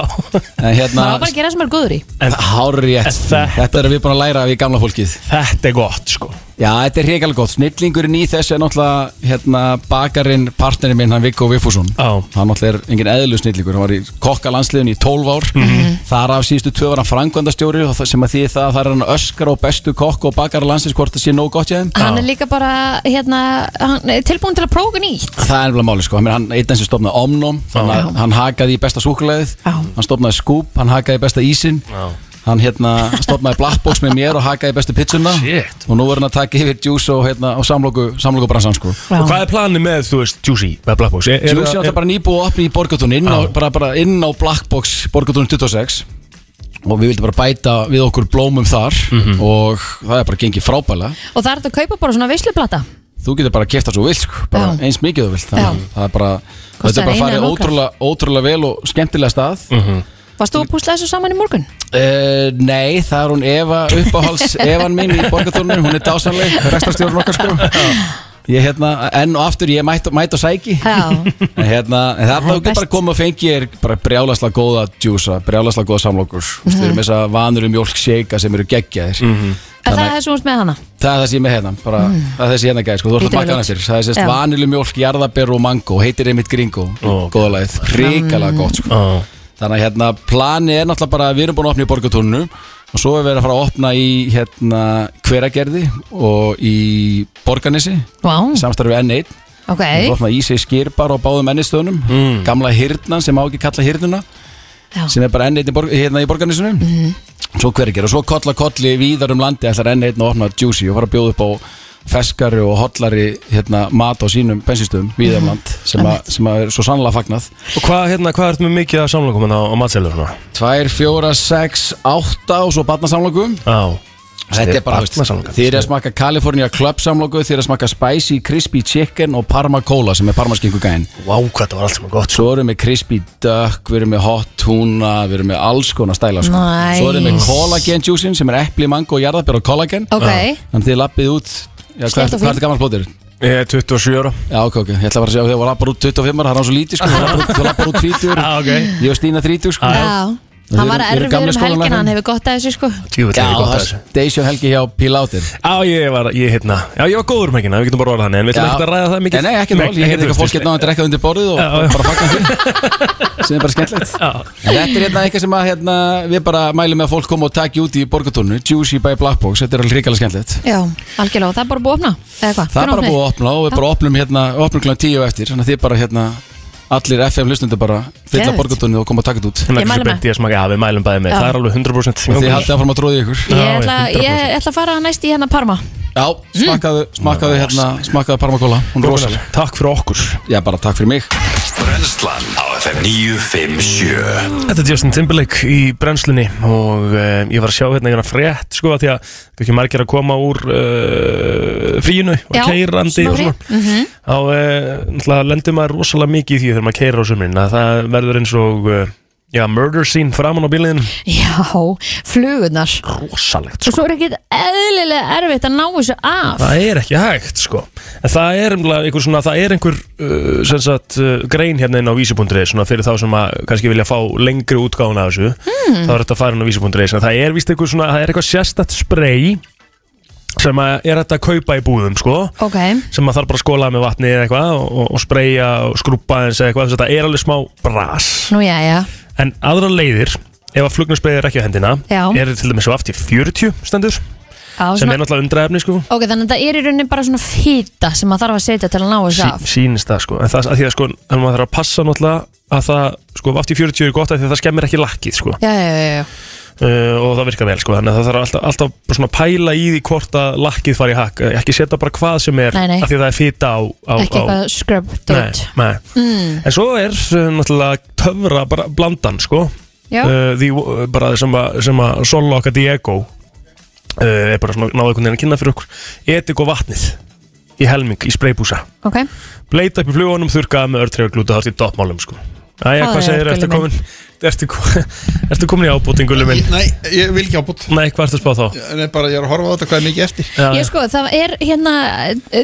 en maður á hérna, bara að gera það sem er góður í en, hári En þetta- þetta erum við búin að læra af í gamla fólkið Þetta er gott sko Já, þetta er hrigalega gott, snillingurinn í þessu er náttúrulega hérna, bakarinn, partnerinn minn, hann Viggo Viffússon Já. hann náttúrulega er engin eðlu snillingur hann var í kokkalandsliðun í 12 ár Mhm. þar af síðustu tvö var hann frangvandastjóri og það sem að því það þar er hann öskar og bestu kokk og bakar landsins hvort það sé nóg gott hjá þeim hann er líka bara hérna, hann er tilbúin til að prófa nýtt Það er nefnilega máli sko, hann er hann einn sem stofnaði Omnum, þannig að hann hakaði í besta súkulegið, Já. hann stofnaði Scoop, hann hakaði í besta ísin, hann hérna stofnaði Black Box með mér og hakaði í besta pizzuna Shit. og nú voru hann að taka yfir Juice og, hérna, og samloku, samloku bransan sko. Og hvað er planið með, þú veist, Juicy, með Black Box? Er- er- Juice er alltaf er- bara nýbúið að opna í Borgatún inn, á- bara, bara inn á Black Box Borgatún 26 og við vildum bara bæta við okkur blómum þar og það er bara gengið frábælega og það er þetta að kaupa bara svona veisluplata þú getur bara að kæfta svo vilt sko, bara Já. eins mikið þú vilt þannig að Já. það er bara þetta Kostar er bara eina að fara en okkar. ótrúlega, ótrúlega vel og skemmtilega stað mm varst þú að púsla þessu saman í morgun? nei, það er hún Eva uppáhalds Evan minn í borgatúrnum, hún er dásanleg restarstjórn okkar sko ég hérna, enn og aftur, ég mætt, mætt og sæki já, en hérna, en það er er þú getur bara best. að koma og fengi þér bara brjálasla góða djúsa, brjálasla góða samlokur mm -hmm. við erum þess að vanur um mjólksjeka sem eru geggjaðir er það þessu úrst með hana? Það er það sem ég er með hérna, bara, það er það sem ég er hérna gæði, sko, þú ert að Lítur makka vel hana út. fyrir. Það er sérst Já. vanilu mjólk, jarðaber og mango, heitir einmitt gringo, Ó, ok. góða lagið, hrikalega gott, sko. Á. Þannig að hérna, planið er náttúrulega bara, við erum búin að opna í borgatúrnu og svo er við að fara að opna í, hérna, hveragerði og í borganesi, Wow. samstarfið N1. ok, Við erum að opna í sig skýrbar á báðum ennistöðunum, Mm. gamla hyrnan sem á ekki kalla hyrnuna, Já. sem er bara enn einn í borg- hérna í borgarnisunum svo hverger og svo kolla kolli víðar um landi ætlar enn einn að opna Juicy og fara að bjóða upp á feskari og hollari hérna, mat á sínum bensinstöðum víðar um land sem, a, sem að er svo sannlega fagnað Og hvað, hérna, hvað ertu með mikið af samlokum hérna á, á matselur svona? 2, 4, 6, 8 og svo batnasamlokum Á þetta er bara, þú veist, Barnasamlokan. þið er að smaka California Club samloku, þið er að smaka Spicy Crispy Chicken og Parma Cola sem er parmaskingu gæn Vá, hvað það var allt sem er gott sko. Svo erum við crispy duck, við erum við hot tuna, við erum við alls konar stæla sko. Nice. Svo erum við collagen juicin sem er epli, mango, jarðabjör og collagen ok, Þannig þið lappið út, já, hvað, Slétt er, og hvað fínt. er gammal plótir? Ég er 27 ára Já, ok, ok, ég ætla bara að segja að þið var lappar út 25 ára, það er á svo lítið sko, þú lappar út- þú lappar út 20 Já, Ah, ok Ég og Stína 30 sko já Við hann var erum- við erum erfið gamlir um skólalæknar. helgin hann hefur gott að þessu sko Jú, Já, þetta er gott að þessu Deisjón Helgi hjá Pilátir Já, ég var, ég hérna Já, ég var góður um helgina, við getum bara orðað þannig En við ætlum ekkert að ræða það mikið Nei, ekki mál, ég hefði þú veist, eitthvað hérna, fólk getna að drekka undir borðið og Já, já. bara fagna því sem er bara skemmtilegt En Þetta er hérna eitthvað sem að hérna, við bara mælum með að fólk koma og taki út í borgatúrnu Juicy by Black Box, þetta er alveg hrikalega skemmtilegt já, algjörlega, og það er bara búið að opna eða hvað, Það er bara Hvenær búið opnið? að opna og við bara opnum hérna, opnum kl. 10 eftir Þannig að þið bara hérna, allir FM hlustundu bara fylla Geðveikt. borgatunni og koma að taka þetta út Þannig Ég að mæli þessu með. beint ég að smaka, já við mælum bæði með, Já. það er alveg 100% Og þið mjólkur. haldið áfram að tróða í ykkur Ég Já, ætla, ég- ég ætla að fara næst í hérna Parma Já, smakkaðu, smakkaðu hérna, smakkaðu parmakóla Hún er rosaleg Takk fyrir okkur Já, bara takk fyrir mig Brennslan á FM 957 Þetta er Justin Timberlake í brennslunni og uh, ég var að sjá hérna hérna frétt sko að því að það er ekki margir að koma úr uh, fríinu og Já, Mhm. keirandi smá og frí. svona þá eh, uh, náttúrulega lendur maður rosalega mikið í því þegar maður keirar á sumrin að það verður eins og uh, Já, murder scene framan á bíliðin Já, flugunar Rosalegt Og svo er ekkit eðlilega erfitt að ná þessu af Það er ekki hægt sko En það er umlega einhver svona Það er einhver uh, sem sagt, uh, grein hérna inn á vísibundri Svona fyrir þá sem að kannski vilja fá lengri útgáfuna af þessu Mm. Þá er þetta að fara inn á vísibundri Það er víst einhver svona Það er eitthvað sérstætt spray Sem að er þetta að kaupa í búðum sko Ok, sem að þarf bara að skóla með vatni eða eitthvað og, og spreyja og skrúpa eins eða eitthvað þess að þetta er alveg smá bras nú já, já en aðra leiðir ef að flugnarspreyja er ekki á hendina Já. er til dæmis svo aftur 40 stendur Já, sem svona- er náttúrulega undraefni sko Ok, þannig að það er í rauninni bara svona fýta sem maður þarf að setja til að ná þessu af sí, sýnist það sko en það að því að sko en maður þarf að passa náttúrulega að það sko aftur 40 er gott af því að það skemmir ekki lakkið sko Já, já, já, já uh, og það virkar vel sko þannig að það þarf alltaf, alltaf bara svona að pæla í því hvort að lakkið fari í hakk Eh, ekki setja bara hvað sem er Nei, nei. af því að það er fita á, á, Ekki á eitthvað scrub dot Nei, nei. Mm. En svo er uh, náttúrulega töfra bara blandan sko Já. uh, Því uh, bara sem að, sem að Solo okkar Diego uh, er bara svona náðu einhvern veginn að kynna fyrir okkur Edik og vatnið í helming í spraybúsa Ok, Bleita upp í flugunum, þurkaða með örtreyfaglúta þátt í doppmálum sko Æja, Það hvað er, segir, ertu Gulli komin ertu, ko- ertu komin í ábútin, gullu minn? Nei, ég vil ekki ábútt Nei, hvað ertu að spá þá? Nei, bara ég er að horfa á þetta hvað er mikið eftir Já, ég sko, það er hérna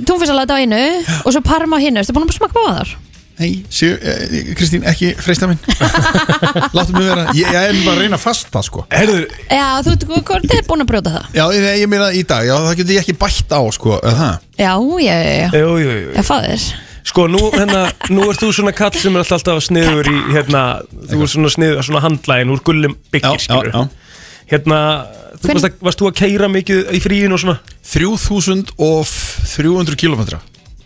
túnfisalat á einu og svo parma á hinu, ertu búin að smakka á þar? Nei, séu, eh, Kristín, ekki freista minn Láttu mig vera Ég, ég er bara að reyna að fasta, sko Herður, Já, þú ert hvort er búin að brjóta það já, ég, ég meina í dag Já, það getur ég ekki bætt á, sko eða það? Já, já, já, já, Jú, jú, jú já, fæðir Sko, nú, hérna, nú ert þú svona kall sem er alltaf- alltaf sniður í, hérna, þú ert svona sniður, svona handlægin úr gullum byggir, Já, já, skilur. Hérna, þú Hvern- varst, að, varst þú að keira mikið í fríinu og svona? 3300 kilometra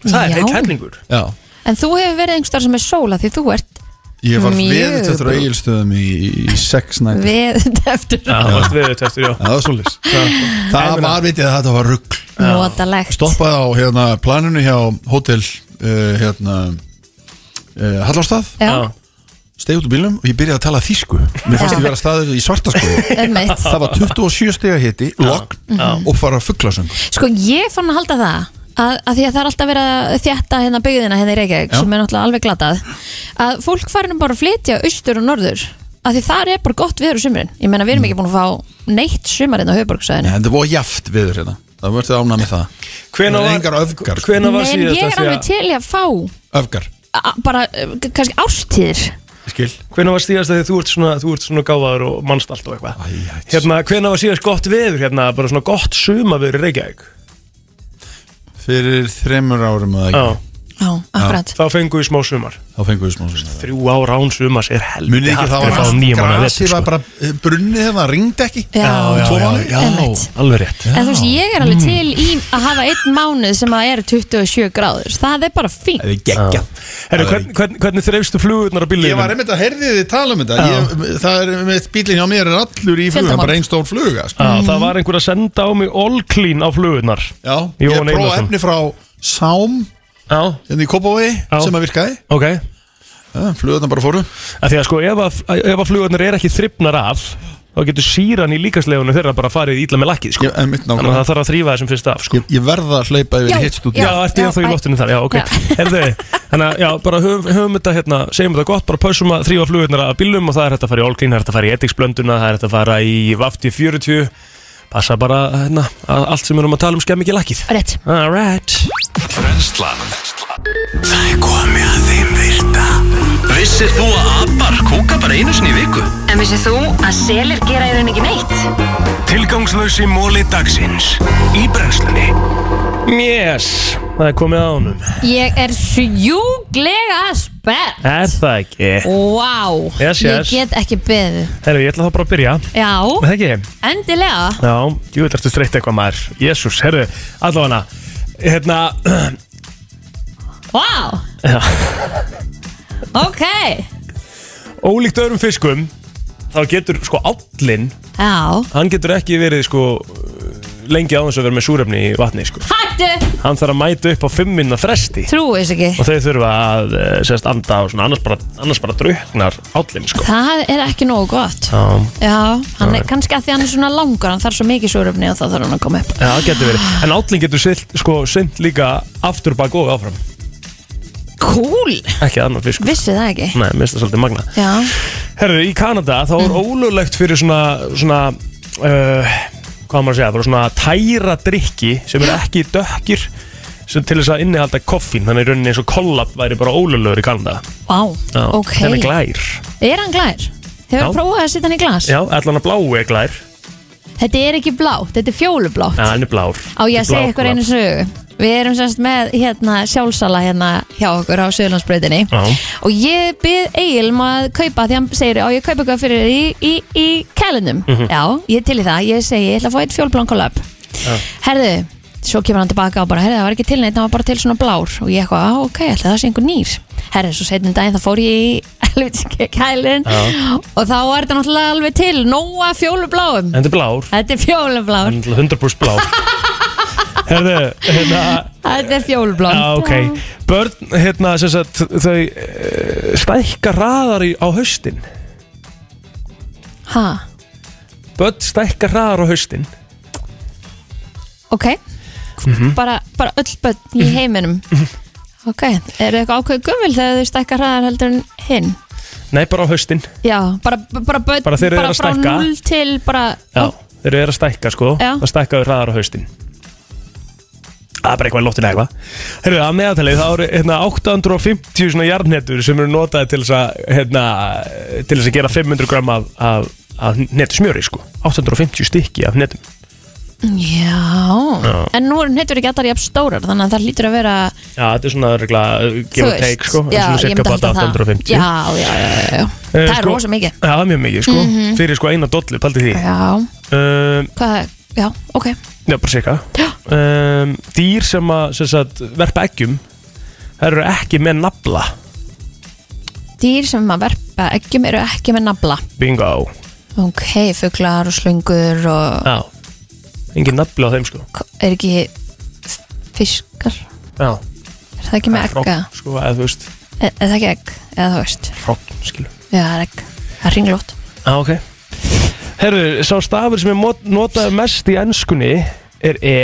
Það er Já. heill hellingur. Já En þú hefur verið einhver starf sem er sóla því þú ert Ég var Mjög veðið eftir brú- eigilstöðum í, í sex nætt við eftir Já, það varst við þetta eftir, já. Það var svolítið Það var vitið að þetta var rugg notalegt Stoppaði á hérna, planinu hjá hótel uh, hérna, uh, Hallarstað Já, Steig út úr bílum og ég byrjaði að tala þýsku Mér Já. fannst ég vera staðið í svarta sko einmitt Það var 27 stiga hiti, lokn og fara fugglasöng Sko, ég fann að halda það að, að því að það er alltaf verið að þjætta hérna byggðina hérna í Reykjavík Já. sem er náttúrulega alveg glatað að fólk farinum bara að flytja austur og norður að því þar er bara gott viður á sumrin ég meina við erum ekki búin að fá neitt sumarinn á höfuborgsæðinu En það var jaft viður hérna Það verður þetta ánað með það Hvena Það er var, engar öfgar. Hvena var Nei, en síðast ég er að alveg því til í að fá Öfgar, a, bara, eh, kannski ástíðir skil að, hvena var síðast að því þú ert svona, þú ert svona gáðaður og mannst allt og eitthvað. Hérna, hvena var síðast gott veður, hérna, bara svona gott suma veður í Reykjavík? Fyrir þremur árum að Já, ekki Já, akkurat þá fengum við smá sumar. Þá fengum við smá sinna Þrjú ár án sumas er helviti Muni ekki hart það að sko. fá var nýjum hana Grasið var bara eh, brunnið hérna, ringdi ekki Já, já, Tvo mánuði? já, Mm. einmitt. Alveg rétt. En þú veist, ég er alveg til í að hafa einn mánuð sem að er 27 gráður Það er bara fínt Það er geggja Herru, hvern, hvern, hvernig þreifstu flugurnar á bílunum? Ég var einmitt að herði þið tala um þetta ég, Það er með bílinn hjá mér er allur í fluga Fjöldamorð. Bara einn stór fluga sko. Já, það var einhver að senda á mig all clean á flugurnar Já, Jón Ég prófa Einarsson. efni frá Sám Já, Hérna í Kópavogi Já. sem að virkaði ok að Flugarna bara fóru Því að sko, ef að, ef að flugurnar er ekki þrifnar af þá getur síran í líkaslegunum þeirra bara farið ítla með lakkið, sko Ég, einmitt, Þannig að nákvæmlega. það þarf að þrýfa þessum fyrst af, sko ég, ég verða að hleypa yfir Já, í hitt stúdíu Já, já, ertu ég þá í já, loftinu þar, já, ok Já. Herðu, þannig að, já, bara höfum, höfum þetta, hérna, segjum þetta gott bara pössum að þrýfa flugurnar af bílum og það er þetta að fara í all clean, það er þetta að fara í etiksblönduna það er þetta að fara í vafti 40 Passa bara, hérna, að allt sem við erum að tala um skemm ekki lakkið Rétt All right Brenslan Það er komið að þeim virta Vissir þú að abar kúka bara einu sinni í viku? En vissið þú að selir gera í raun ekki neitt? Tilgangslösi móli dagsins Í brennslunni Yes, það er komið á honum Ég er sjúglega spennt Er það ekki? Vá, wow. Yes, yes. ég get ekki beðið Herru, ég ætla þá bara að byrja Já, Er Það ekki? endilega Já, jú, þetta ertu þreytt eitthvað maður Jésús, herru, allavega Hérna, Vá, já, ok ólíkt öðrum fiskum Þá getur, sko, állinn Já, Hann getur ekki verið, sko Lengi á þess að vera með súrefni í vatni, sko hættu, Hann þarf að mæta upp á fimm minna fresti trúi þess ekki Og þau þurfa að, eh, sérst, anda og svona Annars bara, annars bara druknar állinn, sko Það er ekki nógu gott Já, Já, hann er kannski að því hann er svona langur Hann þarf svo mikið súröfni og þá þarf hann að koma upp Já, það getur verið En állin getur silt, sko, sind líka aftur bak og áfram Cool, Ekki annar fiskur vissi það ekki Nei, mér finnst það svolítið magna Já, Herru, í Kanada þá Mm. er ólöglegt fyrir svona, svona uh, hvað á maður að segja, bara svona tæra drikki sem eru ekki dökkir sem til þess að innihalda koffín þannig í rauninni eins og kollab væri bara ólöglegur í Kanada vá, Já, ok Hann er glær Er hann glær? Hefur Já. prófað að setja hann í glas? Já, allan að bláu er glær Þetta er ekki blátt, þetta er fjólublátt Já, hann er blár Á ég að segja ykkur einu sögu Við erum semst með hérna, sjálfsala hérna hjá okkur á Söðlandsbreytinni Já. og ég byrð Egilm að kaupa því hann segir, á ég kaupa eitthvað fyrir þér í, í, í kælinum, Mhm. já, ég er til í það ég segi, ég ætla að fá eitt fjólblán kollab herðu, svo kemur hann tilbaka og bara herðu, það var ekki til neitt, það var bara til svona blár og ég eitthvað, "Á, ok, ætla það sé einhver nýr herðu, svo setjum daginn, þá fór ég í helvitis kælin Já. og þá er þetta náttúrulega alveg til, nóa fjólubláum Þetta er blár þetta er fjólublár, Hann er 100% blár Herðu, hérna þetta er fjólubláum Já, ok Börn, hérna, sem sagt, þau uh, stækka raðar í, á haustin ha, Börn stækka raðar á haustin ok Mhm. bara, bara öll börn í heiminum ok, eru eitthvað ákveð gummil þegar þau stækka hraðar heldur en hinn Nei, bara á haustin já, bara, bara börn Bara þegar þau eru að frá stækka. 0 til bara Já, þeir eru að stækka sko Já. Það stækkaðu hraðar á haustin Það er bara eitthvað í loftinu eða eitthvað Herru, að meðaltalið þá eru hérna, 850 svona jarnhetur sem eru notaði til þess að hérna, til þess að gera 500 gram af, af, af netu smjöri sko 850 stykki af netum já, Já. en nú eru hettur ekki allar jafn stórar þannig að það hlýtur að vera Já, þetta er svona regla uh, þú give or veist, take sko já, Svona ég cirka myndi halda bara það 850 já, já, já, já, já. Eh, það er sko, rosa mikið Já, það er mjög mikið sko Mhm. Fyrir sko eina dollu, paldi því já, um, hvað, já, ok Já, bara seka um, Dýr sem að sem sagt, verpa eggjum Það eru ekki með nafla dýr sem að verpa eggjum eru ekki með nafla Bingo ok, fuglar og slungur og Já Engin nafla á þeim sko er ekki f- fiskar Já er það ekki með egga E- Hrogn, Sko, eða þú veist er, er það ekki egg, eða þú veist Hrogn, skilu já, það er egg, það er ringlót Já, ok Herru, sá stafur sem er mot- notaður mest í ennskunni er E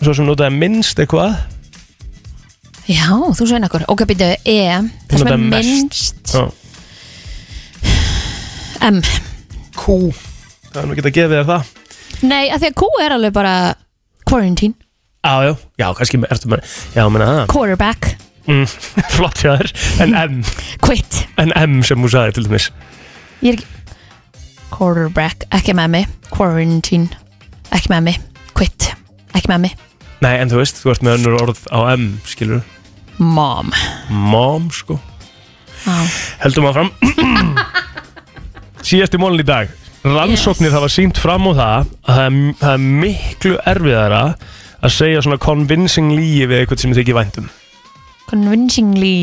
Svo sem notaður minnst eitthvað já, þú svein okkur, ok, býtu, e það sem er notaður mest. minnst Já m, Q Það er nú ekki að gefa þér það nei, af því að q er alveg bara quarantine, Já, já, já, kannski með- ertu með Já, menna það quarterback mm, Flott hjá þér En M quit, En M sem hún sagði til dæmis ég er ekki quarterback, ekki með mig quarantine, ekki með mig quit, ekki með mig Nei, en þú veist, þú ert með önnur orð á M, skilur mom Mom, sko Já. Heldum áfram Síðasti mólin í dag Rannsóknir hafa sínt fram á það að það er, það er miklu erfiðara að segja svona convincing líi við eitthvað sem þið ekki væntum convincingly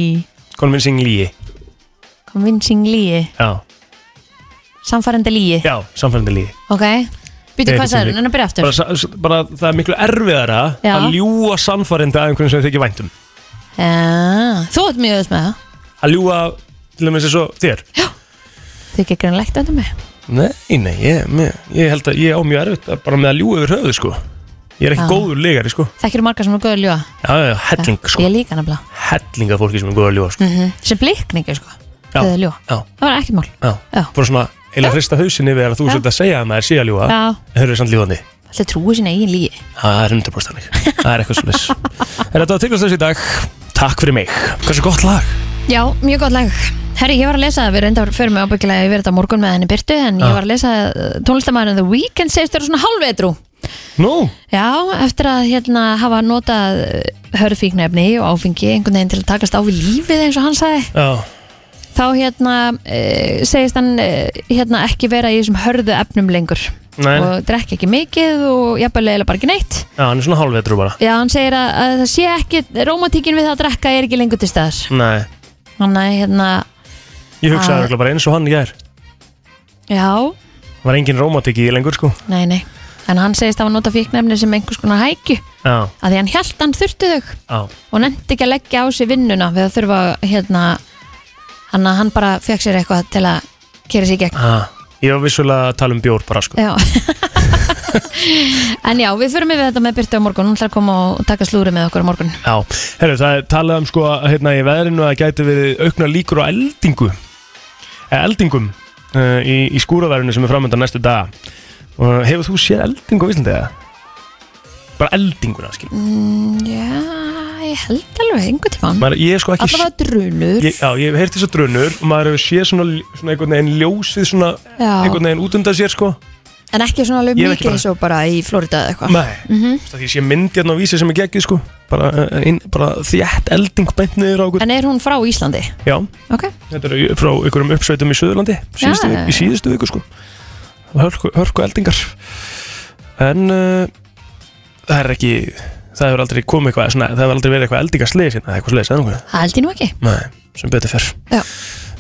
Convincing líi, convincingly, já, samfærandi líi já, samfélandi líi ok, býtu Nei, hvað ekki sagður, sem- en að byrja aftur bara, sa- s- bara það er miklu erfiðara Já. að ljúa samfærandi að einhvern sem þið um. ekki væntum Já, þú ert mjög auðvitað með það Að ljúa til dæmis eins og þér Þið ekki greinlegt undir mig Nei, nei, ég, mér- ég held að ég á mjög erfitt að- bara með að ljúa yfir höfuð, sko Ég er ekki Já. góður legari, sko Þekkir þú margar sem er góður að ljúa Já, já, já, helling, sko Ég líka nefnilega Helling af fólki sem er góður að ljúa, sko mm Sem blikningi sko Já. Þau að ljúa Já, Það var ekkert mál já, Já. bara svona eila hrista hausin yfir að þú Já. sért að segja að maður sé að ljúa Já. En þau eru samt ljúandi Það trúi sína eigin lígi Það er 100% þannig Það er eitthvað svolítið Er þetta að tilkvæmst þessi í dag? Takk fyrir mig Hversu gott lag? Já, mjög gott lag Herri, ég var að lesa það, við reyndar förum mig ábyggilega yfir þetta á morgun með henni Byrtu En Já. ég var að lesa tónlistamæðurinn The Weeknd segist þér svona hálfvetrú Nú? Já, eftir að hérna hafa notað hörfíknefni og áfengi einhvern veginn til að takast á við lífið eins og hann sagði Já, þá hérna uh, segist hann uh, hérna ekki vera í þessum hörðu efnum lengur Nei. og drekki ekki mikið og jafnvel eiginlega bara ekki neitt já, hann er svona hálfvetur bara já, hann segir að, að það sé ekki rómatíkin við það að drekka er ekki lengur til staðar Nei, hann er hérna, ég hugsaði Ah. örugglega bara eins og hann ég er já, Var engin rómatik í því lengur, sko nei, nei en hann segist að hann nota fíknefni sem einhvers konar hækju Já, að því hann held hann þurfti þau já og nefndi ekki að leggja á sig vinnuna við að þurfa hérna hann, hann bara fekk sér eitthvað til að kera sér í gegn Ah, ég var vissulega að tala um bjór bara sko Já En já, við förum yfir þetta með Byrta á morgun Hún ætlar að koma og taka slúri með okkur á morgun Já, herru, það er talað um sko að, hérna í veðrinu að það gæti verið aukna líkur á eldingu eh, eldingum uh, í, í skúraverðinu sem er framöndan næstu daga og hefur þú séð eldingu á Íslandi eða? Bara eldinguna, skil mm, Já, ég held alveg einhvern tímann Maður, ég er sko ekki Alla var drunur Ég, já, ég hef heyrt þessar drönur og maður hefur séð svona, svona einhvern veginn ljósið svona Já. einhvern veginn út undan sér sko En ekki svona alveg Ég hef ekki mikið bara- eins og bara í Florida eða eitthvað Nei. Mhm. Þú veist að ég sé myndi hérna á vísi sem er geggið sko bara, eh, inn, bara þjætt elding bænt niður á okkur En er hún frá Íslandi? Já, Ok þetta er frá einhverjum uppsveitum í Suðurlandi síðustu, Já. í síðustu viku sko hörku, hörku eldingar en uh, það er ekki það hefur aldrei komið eitthvað svona, það hefur aldrei verið eitthvað eldingarsleis hérna, eitthvað sleis, eða nokkuð Það held ég nú ekki Nei, sem betur fyrr Já.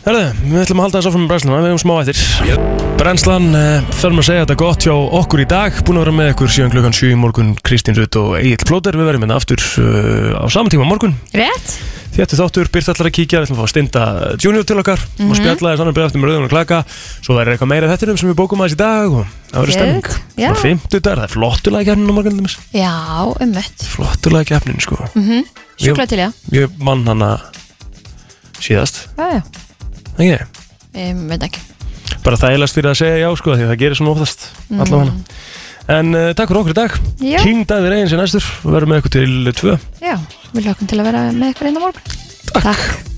Herðu, við ætlum að halda þess áfram með brennsluna, við erum smá eftir Brennslan, eh, þurfum að segja þetta gott hjá okkur í dag Búin að vera með ykkur síðan klukkan 7 í morgun Kristín Rutt og Egil Plóter Við verðum hérna aftur uh, á saman tíma á morgun Rétt Þéttu þáttur, Byrt ætlar að kíkja, við ætlum að fá að stinda Junior til okkar mm Mhm. og spjalla þess annar byrja eftir með rauðun og klaka Svo verður eitthvað meira þetta sem við bókum aðeins í dag og það verður stemming Geðveikt, já. Það er fimmtudagur, það er flottulega keppnin á morgun Já, um umvett Flottulega keppnin, sko mm -hmm. Sjúkla Jú. til ég Ég vann hana síðast, Já, já, ekki? ég veit ekki bara þægilegast fyrir að segja já sko því að það gerir svona oftast Mm. allavega en uh, takk fyrir okkur í dag Já. King Davíð Reyns er næstur við verðum með ykkur til tvö hérna Já, við lögum til að vera með ykkur einn á morgun Takk